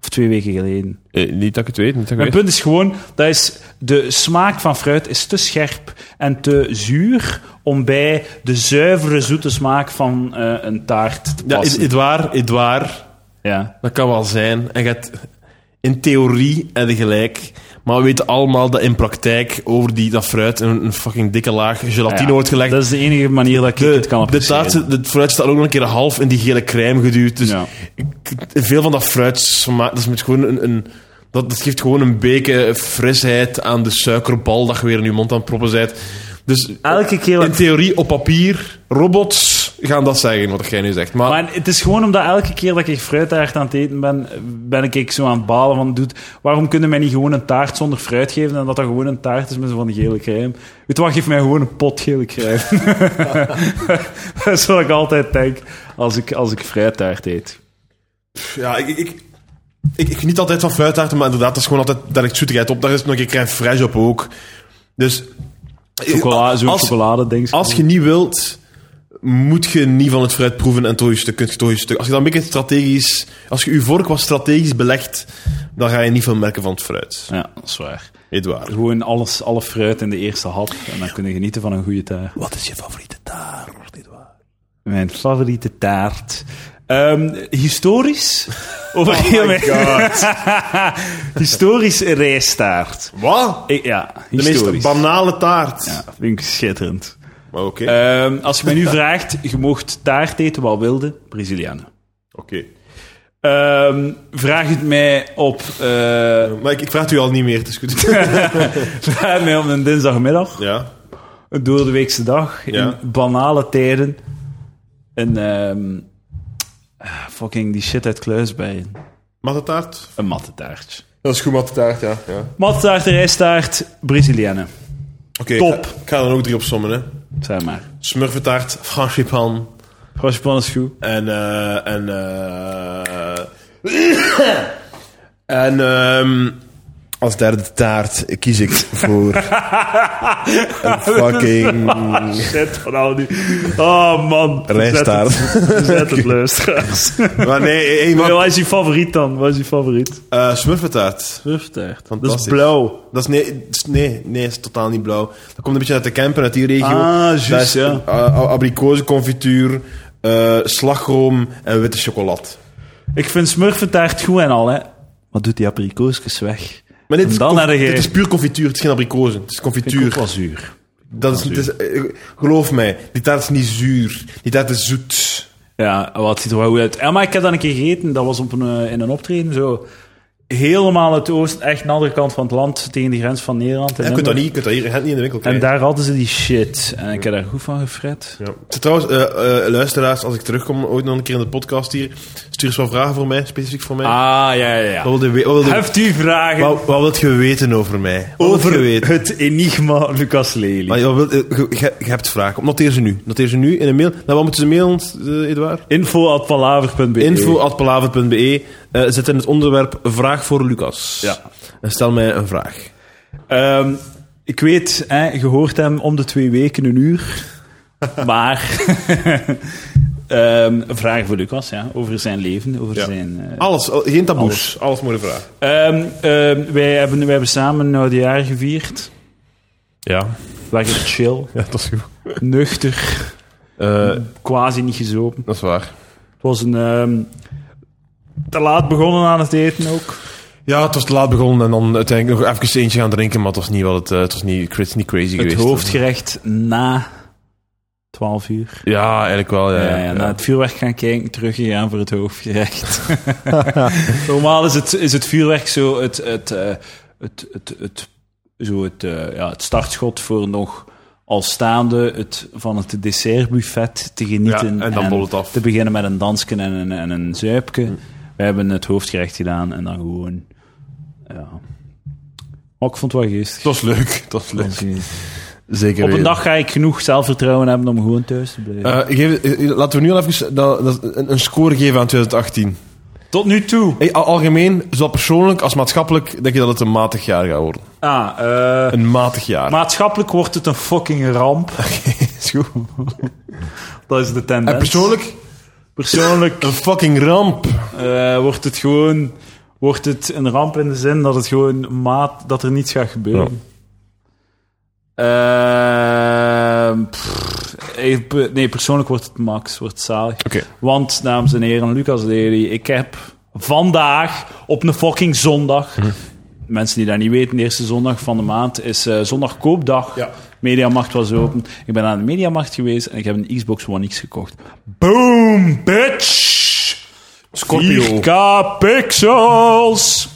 S1: Of twee weken geleden.
S2: eh, niet dat ik het weet, niet dat ik
S1: Mijn
S2: het weet.
S1: punt is gewoon, dat is, de smaak van fruit is te scherp en te zuur om bij de zuivere, zoete smaak van eh, een taart te
S2: Ja,
S1: passen. Ja,
S2: Edouard, Edouard, dat kan wel zijn. En je hebt, in theorie heb je gelijk. Maar we weten allemaal dat in praktijk over die, dat fruit een, een fucking dikke laag gelatine
S1: Ah Ja,
S2: wordt gelegd.
S1: Dat is de enige manier dat ik het kan
S2: de
S1: appreciëren.
S2: taart, zit- het fruit staat ook nog een keer half in die gele crème geduwd. Dus
S1: Ja.
S2: ik- veel van dat fruit smaakt. Dat, is met gewoon een, een, dat, dat geeft gewoon een beetje frisheid aan de suikerbal dat je weer in je mond aan het proppen bent. Dus
S1: Elke keer...
S2: in theorie, op papier, robots gaan dat zeggen, wat jij nu zegt. Maar,
S1: Maar het is gewoon omdat elke keer dat ik fruittaart aan het eten ben, ben ik ik zo aan het balen van, doet, waarom kunnen mij niet gewoon een taart zonder fruit geven en dat dat gewoon een taart is met zo van die gele crème? Weet je wat, geef mij gewoon een pot gele crème. [LAUGHS] dat is wat ik altijd denk als ik, als ik fruittaart eet.
S2: ja, ik, ik, ik, ik geniet altijd van fruitaarten, maar inderdaad, dat is gewoon altijd direct zoetigheid op. Daar is nog een keer crème fraîche op ook. Dus...
S1: Chocola, zo'n
S2: als-
S1: chocoladeding.
S2: Als je niet wilt, moet je niet van het fruit proeven en toch je stuk, kunt je toch je stuk. Als je dan een beetje strategisch, als je je vork wat strategisch belegt, dan ga je niet veel merken van het fruit.
S1: Ja, dat is waar.
S2: Edouard.
S1: Gewoon alles, alle fruit in de eerste hap en dan kun je genieten van een goede taart.
S2: Wat is je favoriete taart, Edouard?
S1: Mijn favoriete taart. Ehm, historisch? [LAUGHS] Over
S2: Oh
S1: heel mijn- historisch rijstaart.
S2: Wat?
S1: Ik- ja,
S2: De meest
S1: historisch.
S2: banale taart.
S1: Ja, vind ik schitterend.
S2: Maar oké.
S1: Ehm, als je [LAUGHS] mij nu vraagt, je mocht taart eten wat wilde, Brazilianen.
S2: Oké.
S1: Ehm, vraag het mij op, eh, [LAUGHS]
S2: Maar ik, ik vraag het u al niet meer, het is goed.
S1: vraag het mij op een dinsdagmiddag,
S2: ja.
S1: een doordeweekse dag,
S2: Ja.
S1: in banale tijden. Een ehm, ah, fucking die shit uit Kluisbijen.
S2: Mattetaart?
S1: Een matte taartje.
S2: Dat is goed mattetaart, ja. ja.
S1: Mattaart, rijstaart, Brazilianen.
S2: Oké.
S1: Top.
S2: Ik ga, ik ga er ook drie opsommen, hè.
S1: Zeg maar.
S2: Smurfetaart, franchipan
S1: Franchipan is goed.
S2: En, eh. en, eh. [COUGHS] en, ehm, als derde taart kies ik
S1: [LAUGHS]
S2: voor. een fucking.
S1: Ah, Shit, van al die... Oh man.
S2: Rijstaart.
S1: [LAUGHS] Zet het luisteraars.
S2: maar nee, e- één
S1: [LAUGHS]
S2: man.
S1: Wat is je favoriet dan? Wat is je favoriet?
S2: eh smurfetaart.
S1: Ruftaart. Dat is
S2: Fantastisch.
S1: blauw.
S2: Dat is nee, dat is- nee, nee, is totaal niet blauw. Dat komt een beetje uit de Kempen, uit die regio.
S1: Ah, juist,
S2: Dat is,
S1: ja.
S2: eh, abrikozenconfituur, eh, slagroom en witte chocolat.
S1: Ik vind smurfentaart goed en al, hè. Wat doet die abrikoosjes weg?
S2: Maar dit, is
S1: En dan
S2: conf-
S1: heb je-
S2: dit is puur confituur, het is geen abrikozen, het is
S1: Ik
S2: confituur.
S1: ook wel zuur.
S2: Dat is, het is, eh, geloof mij, die taart is niet zuur. Die taart is zoet.
S1: Ja, wat ziet er wel goed uit. Ja, maar ik heb dat een keer gegeten. Dat was op een, eh, in een optreden zo. Helemaal het oosten, echt aan de andere kant van het land, tegen de grens van Nederland. en
S2: Ja, je kunt dat
S1: Limburg.
S2: niet, je kunt dat hier je gaat het niet in de winkel
S1: En
S2: krijgen.
S1: daar hadden ze die shit. En ik heb daar goed van gefret.
S2: Ja. Zo, Trouwens, eh, eh, luisteraars, als ik terugkom ooit nog een keer in de podcast hier, stuur eens wat vragen voor mij, specifiek voor mij.
S1: Ah, ja, ja, ja.
S2: Wat wil je we- wat wil je-
S1: Heft u vragen
S2: wat- wat wilt je weten over mij? Wat wilt je
S1: over
S2: weten?
S1: het enigma Lucas Lely.
S2: Maar je, wilt- eh, je- je- je hebt vragen. Noteer ze nu. Noteer ze nu in een mail. Nou, wat moeten ze mailen, eh, Edouard?
S1: Info.palaver.be
S2: Info.palaver.be. Eh, zet in het onderwerp vraag voor Lucas.
S1: Ja.
S2: En stel mij een vraag.
S1: Ehm, ik weet, hè, je hoort hem om de twee weken een
S2: [LAUGHS]
S1: uur. maar [LAUGHS] ehm vragen voor Lucas, ja, over zijn leven, over
S2: Ja.
S1: zijn... eh,
S2: Alles, al- geen taboes. Alles, moet je vragen.
S1: Ehm, ehm, wij, hebben, wij hebben samen een oudejaar gevierd.
S2: Ja.
S1: Lekker
S2: [LAUGHS]
S1: chill,
S2: ja, dat is goed.
S1: nuchter,
S2: Eh,
S1: quasi niet gezopen.
S2: dat is waar.
S1: Het was een... ehm, te laat begonnen aan het eten ook.
S2: Ja, het was te laat begonnen en dan uiteindelijk nog even eentje gaan drinken, maar het was niet, wel het, eh, het was niet, het was niet crazy
S1: Het
S2: geweest.
S1: hoofdgerecht na 12 uur.
S2: Ja, eigenlijk wel. Ja,
S1: Ja, ja,
S2: ja.
S1: Na het vuurwerk gaan kijken, teruggegaan voor het
S2: [LAUGHS]
S1: hoofdgerecht. [LAUGHS] Normaal is het, is het vuurwerk zo het, het, eh, het, het, het, zo het, eh, ja, het startschot voor nog al staande het, van het dessertbuffet te genieten.
S2: Ja, en dan bol het af. Mm.
S1: Te beginnen met een dansje en een, en een zuipje. We hebben het hoofdgerecht gedaan en dan gewoon... Ja. Maar ik vond het wel geestig.
S2: Het was leuk. Het was leuk. Zeker
S1: Op een
S2: weten.
S1: dag ga ik genoeg zelfvertrouwen hebben om gewoon thuis te blijven.
S2: Eh, geef, eh, laten we nu al even dat, dat- een, een score geven aan 2018.
S1: Tot nu toe.
S2: Hey, al- algemeen, zowel persoonlijk als maatschappelijk, denk je dat het een matig jaar gaat worden.
S1: Ah, eh,
S2: Een matig jaar.
S1: maatschappelijk wordt het een fucking
S2: [LAUGHS]
S1: ramp.
S2: Is goed.
S1: Dat is de tendens.
S2: En persoonlijk,
S1: Persoonlijk
S2: een fucking ramp.
S1: eh, wordt het gewoon wordt het een ramp in de zin dat het gewoon maat dat er niets gaat gebeuren. Eh, pff, even pe- nee, persoonlijk wordt het max, wordt het zalig.
S2: Oké.
S1: Want, dames en heren, Lucas Lely, ik heb vandaag op een fucking zondag. Mensen die dat niet weten, de eerste zondag van de maand is eh, zondag koopdag.
S2: Ja.
S1: Mediamarkt was open. Ik ben aan de Mediamarkt geweest en ik heb een Xbox One X gekocht. Boom, bitch!
S2: Scorpio.
S1: 4K pixels!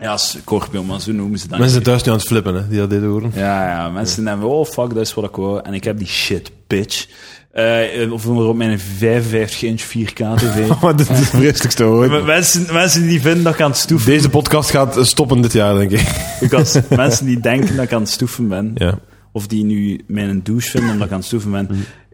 S1: Ja, Scorpio, maar zo noemen ze dat.
S2: Mensen zijn thuis nu aan het flippen, hè, die dat dit [LAUGHS] horen.
S1: Ja, ja, mensen denken, oh fuck, dat is wat ik wou. En ik heb die shit, bitch. Eh, of op mijn 55-inch 4K [LAUGHS] tv.
S2: dat is het vreselijkste hoor.
S1: mensen, mensen die vinden dat ik aan het stoeven
S2: Deze podcast gaat eh, stoppen dit jaar, denk ik.
S1: [LAUGHS] Lucas, mensen die denken dat ik aan het stoeven ben,
S2: Ja.
S1: of die nu mij een douche vinden omdat ik aan het stoeven ben.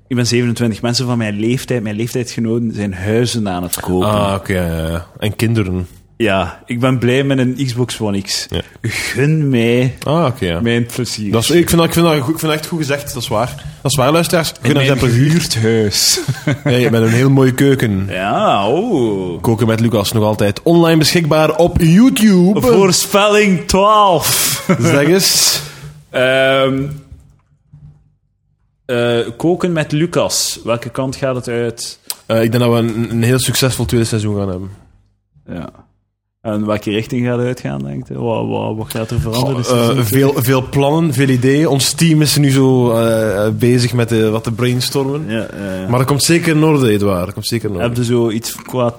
S1: Ik ben 27. Mensen van mijn leeftijd, mijn leeftijdsgenoten, zijn huizen aan het kopen.
S2: Ah, oké. ja, ja. En kinderen.
S1: Ja, ik ben blij met een Xbox One X.
S2: Ja.
S1: Gun mij
S2: Ah, oké. ja.
S1: mijn plezier.
S2: Dat is, ik, vind dat, ik, vind dat, goed- ik vind dat echt goed gezegd, dat is waar. Dat is waar, luisteraars. Ik vind
S1: in mijn
S2: dat simpel goed.
S1: gehuurd huis.
S2: Ja, je bent een heel mooie keuken.
S1: [LAUGHS] ja, oh.
S2: Koken met Lucas nog altijd online beschikbaar op YouTube.
S1: Voorspelling 12.
S2: Zeg eens.
S1: Ehm, eh, koken met Lucas. Welke kant gaat het uit?
S2: Eh, ik denk dat we een, een heel succesvol tweede seizoen gaan hebben.
S1: Ja. En welke richting gaat het uitgaan, denk je? Wat, wat, wat gaat er veranderen?
S2: Goh, eh, veel, veel plannen, veel ideeën. Ons team is nu zo eh, bezig met eh, wat te brainstormen.
S1: ja, ja, ja.
S2: Maar dat komt zeker in orde, Edouard. Dat komt zeker in orde.
S1: Heb je zoiets qua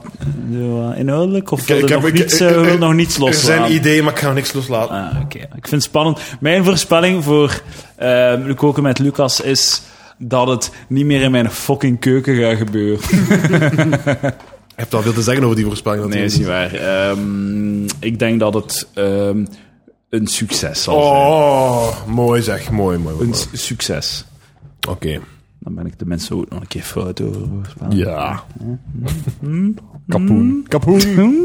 S1: zo, eh, inhoudelijk? Of wil
S2: ik
S1: je
S2: heb-
S1: nog,
S2: ik-
S1: niets,
S2: ik-
S1: eh, wil
S2: ik-
S1: nog niets
S2: er
S1: loslaten?
S2: zijn ideeën, maar ik ga niks loslaten.
S1: Ah, oké. Ik vind het spannend. Mijn voorspelling voor ehm koken met Lucas is dat het niet meer in mijn fucking keuken gaat gebeuren.
S2: Je hebt al veel te zeggen over die voorspelling.
S1: Nee,
S2: natuurlijk.
S1: is niet waar. Ehm, ik denk dat het ehm, een succes zal zijn.
S2: Oh, mooi zeg. Mooi, mooi. mooi,
S1: Een
S2: mooi.
S1: s- succes.
S2: Oké.
S1: Dan ben ik de mensen ook nog een keer fout over. voorspelling.
S2: Ja. Kapoen. Kapoen.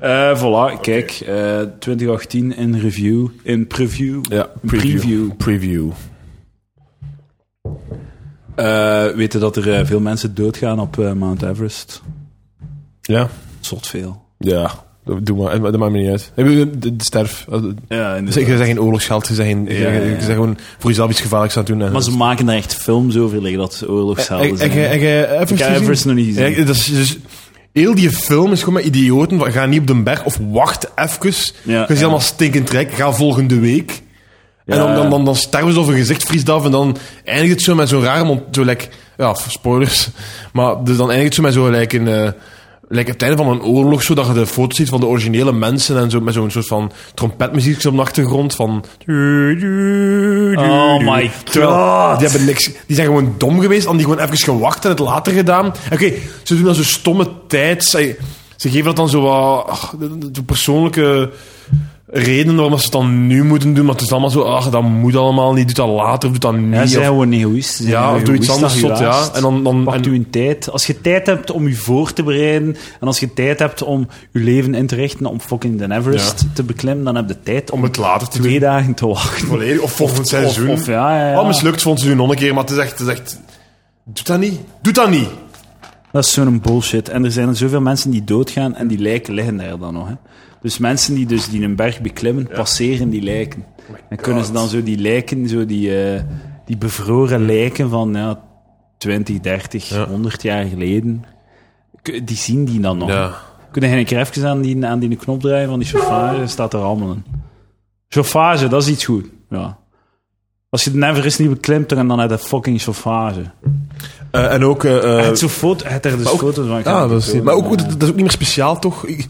S1: Eh, voilà, kijk. eh, 2018 in review. In preview.
S2: Ja,
S1: Een preview.
S2: Preview.
S1: Eh, weten dat er eh, veel mensen doodgaan op eh, Mount Everest.
S2: Ja.
S1: Zot veel.
S2: Ja. Doe maar. Dat maakt me niet uit. Ik bedoel, de- de sterf.
S1: Ja,
S2: Je zegt je zegt geen oorlogsgeld. Je zegt, geen, je
S1: Ja, ja,
S2: zegt-
S1: ja.
S2: je zegt gewoon voor jezelf iets gevaarlijks aan het doen. En,
S1: Maar ze maken daar echt films over liggen dat ze oorlogshelden
S2: En- en-
S1: zijn.
S2: en- en- en- Everest
S1: Ik heb
S2: gezien?
S1: Everest nog niet gezien.
S2: Ja, dat is dus... Heel die film is gewoon met idioten. van, Ga niet op de berg of wacht even.
S1: Ja,
S2: je is
S1: ja.
S2: allemaal stinkend rijk. Ga volgende week. En dan, dan, dan, dan sterven ze of een gezicht vriest af en dan eindigt het zo met zo'n rare mond. Zo like, ja, spoilers. Maar dus dan eindigt het zo met zo like een... eh, like het einde van een oorlog, zo dat je de foto's ziet van de originele mensen en zo met zo'n soort van trompetmuziek op de achtergrond van...
S1: Oh my
S2: Terwijl,
S1: god.
S2: die hebben niks. Die zijn gewoon dom geweest. En die gewoon even gewacht en het later gedaan. Oké, ze doen dan zo'n stomme tijd. Ze, ze geven dat dan zo wat. ach, de- de- de persoonlijke redenen waarom ze het dan nu moeten doen. Maar het is allemaal zo. Ach, dat moet allemaal niet. Doe dat later of doe dat
S1: Ja,
S2: niet.
S1: zijn
S2: of,
S1: gewoon egoïst. Zijn
S2: eh, ja, of doe iets
S1: egoïst
S2: anders.
S1: dat
S2: Tot,
S1: je
S2: ja.
S1: laatst.
S2: En dan. dan
S1: Pakt
S2: en,
S1: u een tijd. Als je tijd hebt om je voor te bereiden en als je tijd hebt om je leven in te richten om fucking de Everest te beklimmen, dan heb je tijd om,
S2: om het later te
S1: twee
S2: doen.
S1: dagen te wachten.
S2: Volledig. Of volgend seizoen.
S1: Of, of ja, ja, ja.
S2: Al mislukt volgend seizoen nog een keer. Maar het is echt. Het is echt doe dat niet. Doe dat niet.
S1: Dat is zo'n bullshit. En er zijn er zoveel mensen die doodgaan en die lijken liggen daar dan nog. Hè. Dus mensen die dus die een berg beklimmen, passeren die lijken. en kunnen ze dan zo die lijken, zo die, eh, die bevroren lijken van ja, 20, 30, 100 jaar geleden, k- die zien die dan nog. hè.
S2: Ja.
S1: Kunnen jij een keer even aan die, aan die knop draaien van die chauffage? Staat er allemaal in. Chauffage, dat is iets goed. Ja. Als je de Everest niet beklimt, dan dan heb je fucking chauffage.
S2: Eh, en ook. eh, eh,
S1: Hij had, zo foto, hij had er dus
S2: maar ook-
S1: foto's van
S2: Ja,
S1: gemaakt.
S2: dat is, eh, maar ook, goed, dat dat is ook niet meer speciaal, toch? Ik,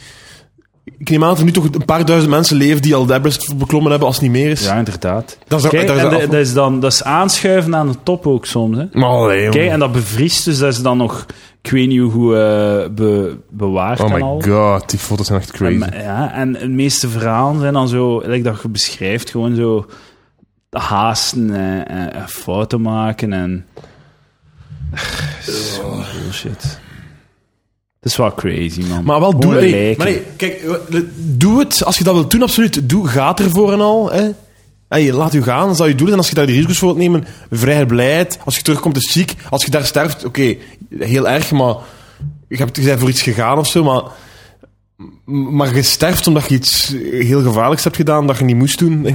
S2: ik neem aan dat er nu toch een paar duizend mensen leven die al de Everest beklommen hebben als het niet meer is.
S1: Ja, inderdaad.
S2: Dat is,
S1: Kijk,
S2: dat is
S1: en
S2: af-
S1: de- dat is dan dat is aanschuiven aan de top ook soms. Hè.
S2: Maar allee, jongen.
S1: Kijk, en dat bevriest, dus dat is dan nog, ik weet niet hoe eh, be- bewaard
S2: Oh
S1: en
S2: my
S1: al.
S2: god, die foto's zijn echt
S1: En,
S2: crazy.
S1: ma- ja, en de meeste verhalen zijn dan zo, like dat je beschrijft, gewoon zo haasten en, en- en fouten maken en... Zo bullshit. Het is wel crazy, man.
S2: maar wel doe
S1: Gewoon
S2: nee,
S1: lijken.
S2: maar nee, kijk, eh, doe het als je dat wilt doen, absoluut. Doe, ga ervoor en al. Hè. Hey, laat u gaan, dat zou je doen. En als je daar de risico's voor wilt nemen, vrij blijheid. Als je terugkomt, is ziek. Als je daar sterft, oké, heel erg, maar je, hebt, je bent voor iets gegaan of zo. Maar, maar je sterft omdat je iets heel gevaarlijks hebt gedaan dat je niet moest doen. hè.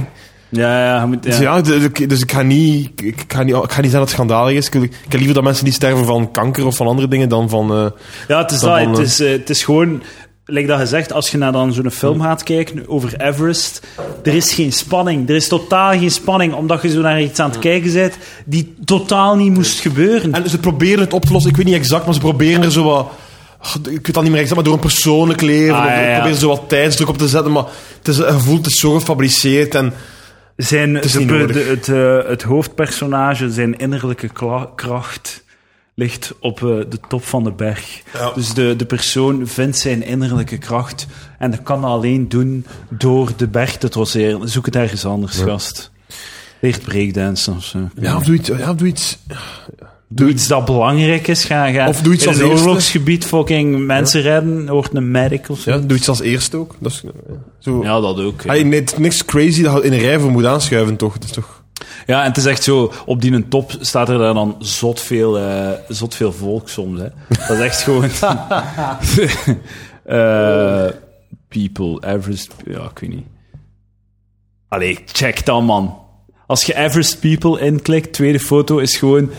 S1: Ja, ja, je moet,
S2: Dus ja, dus ik- dus ik ga niet, ik ik ga niet, ik ga niet zeggen dat het schandalig is. Ik, wil- ik heb liever dat mensen die sterven van kanker of van andere dingen dan van... eh,
S1: Ja, het is,
S2: Dan
S1: dat,
S2: van,
S1: het
S2: eh,
S1: is, eh, het is gewoon, like dat gezegd, als je naar dan zo'n film gaat kijken over Everest, er is geen spanning. Er is totaal geen spanning, omdat je zo naar iets aan het kijken bent die totaal niet moest gebeuren.
S2: En ze proberen het op te lossen. Ik weet niet exact, maar ze proberen er zo wat... Ach, Ik weet dat niet meer exact, maar door een persoonlijk leven.
S1: Ah,
S2: of-
S1: ja, ja.
S2: Proberen ze zo wat tijdsdruk op te zetten. Maar het is een gevoel, het is zo gefabriceerd. En
S1: Zijn,
S2: is
S1: de-
S2: niet
S1: de-
S2: nodig.
S1: de- het, eh, het hoofdpersonage, zijn innerlijke kla- kracht ligt op eh, de top van de berg.
S2: Ja.
S1: Dus de, de persoon vindt zijn innerlijke kracht en dat kan dat alleen doen door de berg te trotseren. Zoek het ergens anders, gast. Leert breakdansen of zo.
S2: ja, of doe iets... Ja, of doe iets.
S1: Doe iets dat belangrijk is. Ga, ga
S2: Of doe iets
S1: in
S2: als
S1: een
S2: eerste.
S1: oorlogsgebied fucking mensen redden. Hoort een medic of zo.
S2: Ja, doe iets als eerste ook. Dat is, ja. zo.
S1: Ja, dat ook. Ja.
S2: Hey, nee, het is niks crazy dat je in een rij voor moet aanschuiven, toch? Dat is toch...
S1: Ja, en het is echt zo, op die top staat er daar dan zot veel, eh, zot veel volk soms. Hè. Dat is echt
S2: [LAUGHS]
S1: gewoon... [LAUGHS] Eh, people, Everest... Ja, ik weet niet. Allee, check dat, man. Als je Everest people inklikt, tweede foto is gewoon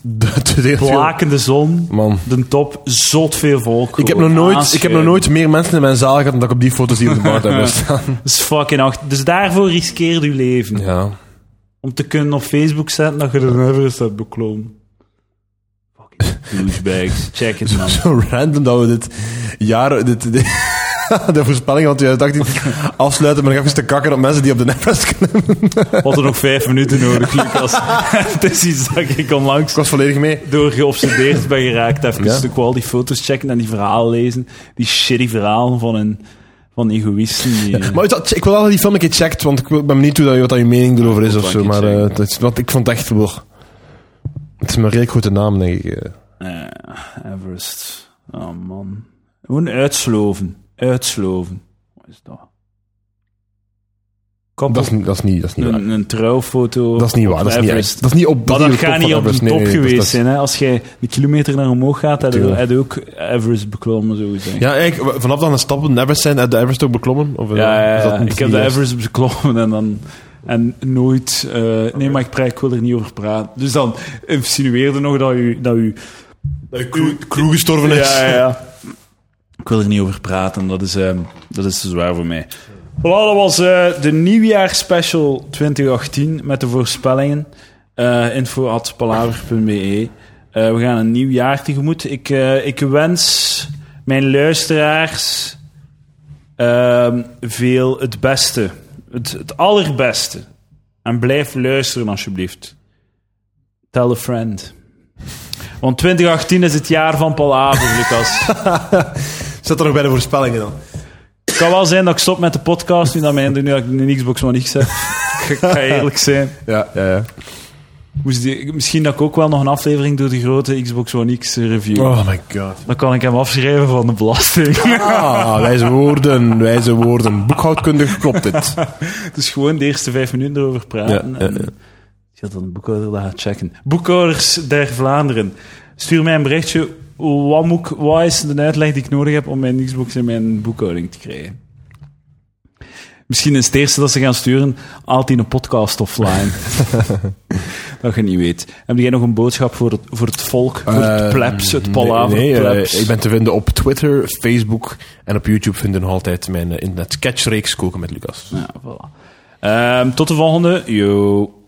S2: Dat is echt veel.
S1: blakende zon,
S2: Man.
S1: de top, zot veel volk.
S2: Ik heb, nog
S1: gewoon.
S2: nooit, ik heb nog
S1: Aanschuiven.
S2: nooit meer mensen in mijn zaal gehad dan dat ik op die foto's die op de
S1: [LAUGHS]
S2: bar hebben staan.
S1: Dat is fucking acht. Dus daarvoor riskeer je leven.
S2: Ja.
S1: Om te kunnen op Facebook zetten dat je de Everest hebt beklomen. Fucking douchebags. Check it, man.
S2: [LAUGHS] Zo random dat we dit jaar, dit, dit- [LAUGHS] de voorspelling van 2018 afsluiten met nog even te kakken op mensen die op de [LAUGHS] Everest kunnen.
S1: We hadden nog vijf minuten nodig, [LAUGHS] Lucas. Het is iets dat ik onlangs
S2: Ik was volledig mee.
S1: door geobsedeerd ben geraakt. Even
S2: Ja.
S1: de al die foto's checken en die verhalen lezen. Die shitty verhalen van, een, van egoïsten. Die,
S2: Maar weet je wat, ik wil altijd die film een keer checkt, want ik wil- ben benieuwd hoe dat, wat dat je mening erover is of zo.
S4: ik
S2: Maar
S4: zeggen.
S2: eh, dat is, wat, ik vond het echt wel. Het is een redelijk goede naam, denk ik. eh.
S1: Eh, Everest. Oh, man. Gewoon uitsloven. Uitsloven. Wat is dat? Koppel
S2: Dat is, niet- dat is niet, dat is niet waar.
S1: een, een trouwfoto.
S2: Dat is niet waar,
S1: op
S2: dat is niet
S1: Everest.
S2: echt. Dat is niet op,
S1: Maar dat
S2: is op
S1: gaat
S2: top
S1: niet
S2: van
S1: op de
S2: Everest.
S1: top
S2: Nee, nee, dat is-
S1: geweest
S2: dat is-
S1: zijn. Hè? Als jij de kilometer naar omhoog gaat, had je
S2: Tuurlijk.
S1: had je ook Everest beklommen, sowieso.
S2: Ja, eigenlijk, vanaf dan een stap op de Everest zijn, heb je de Everest ook beklommen? Of, eh,
S1: Ja, ja,
S2: is
S1: ja.
S2: dat een-
S1: ik heb de Everest beklommen en dan... En nooit... eh, Nee, maar ik, praat- ik wil er niet over praten. Dus dan insinueerde nog dat u... Dat u
S2: Dat je crew, crew gestorven is.
S1: ja, ja. Ik wil er niet over praten, dat is, ehm, dat is te zwaar voor mij. Voilà, dat was eh, de nieuwjaarspecial 2018 met de voorspellingen. Eh info.palaver.be Eh, We gaan een nieuw jaar tegemoet. Ik, eh, ik wens mijn luisteraars ehm, veel het beste. Het, het allerbeste. En blijf luisteren alsjeblieft. Tell a friend. Want 2018 is het jaar van Palaver, Lucas.
S2: Zat er nog bij de voorspellingen dan?
S1: Het kan wel zijn dat ik stop met de podcast nu dat, mijn, nu dat ik een Xbox One X heb. [LAUGHS] Ik ga eerlijk zijn.
S2: Ja, ja, ja.
S1: Moest die- misschien dat ik ook wel nog een aflevering doe, de grote Xbox One X review.
S2: Oh my god.
S1: Dan kan ik hem afschrijven van de belasting.
S2: Ah, wijze woorden, wijze woorden. Boekhoudkundig klopt [LAUGHS] dit.
S1: dus gewoon de eerste vijf minuten erover praten.
S2: Ja, ja,
S1: en
S2: ja.
S1: Ik had dan de boekhouder dat gaat checken. Boekhouders der Vlaanderen. Stuur mij een berichtje. Wat, moet, ik- wat is de uitleg die ik nodig heb om mijn Xbox in mijn boekhouding te krijgen? Misschien is het eerste dat ze gaan sturen altijd een podcast
S2: [LAUGHS]
S1: offline. dat je niet weet. Heb jij nog een boodschap voor het, voor het volk, voor het
S2: Eh,
S1: plebs, het
S2: nee,
S1: palaver
S2: nee, eh,
S1: plebs?
S2: ik ben te vinden op Twitter, Facebook en op YouTube vinden nog altijd mijn eh, internet sketchreeks koken met Lucas.
S1: Ja, voilà. Ehm, tot de volgende. Yo.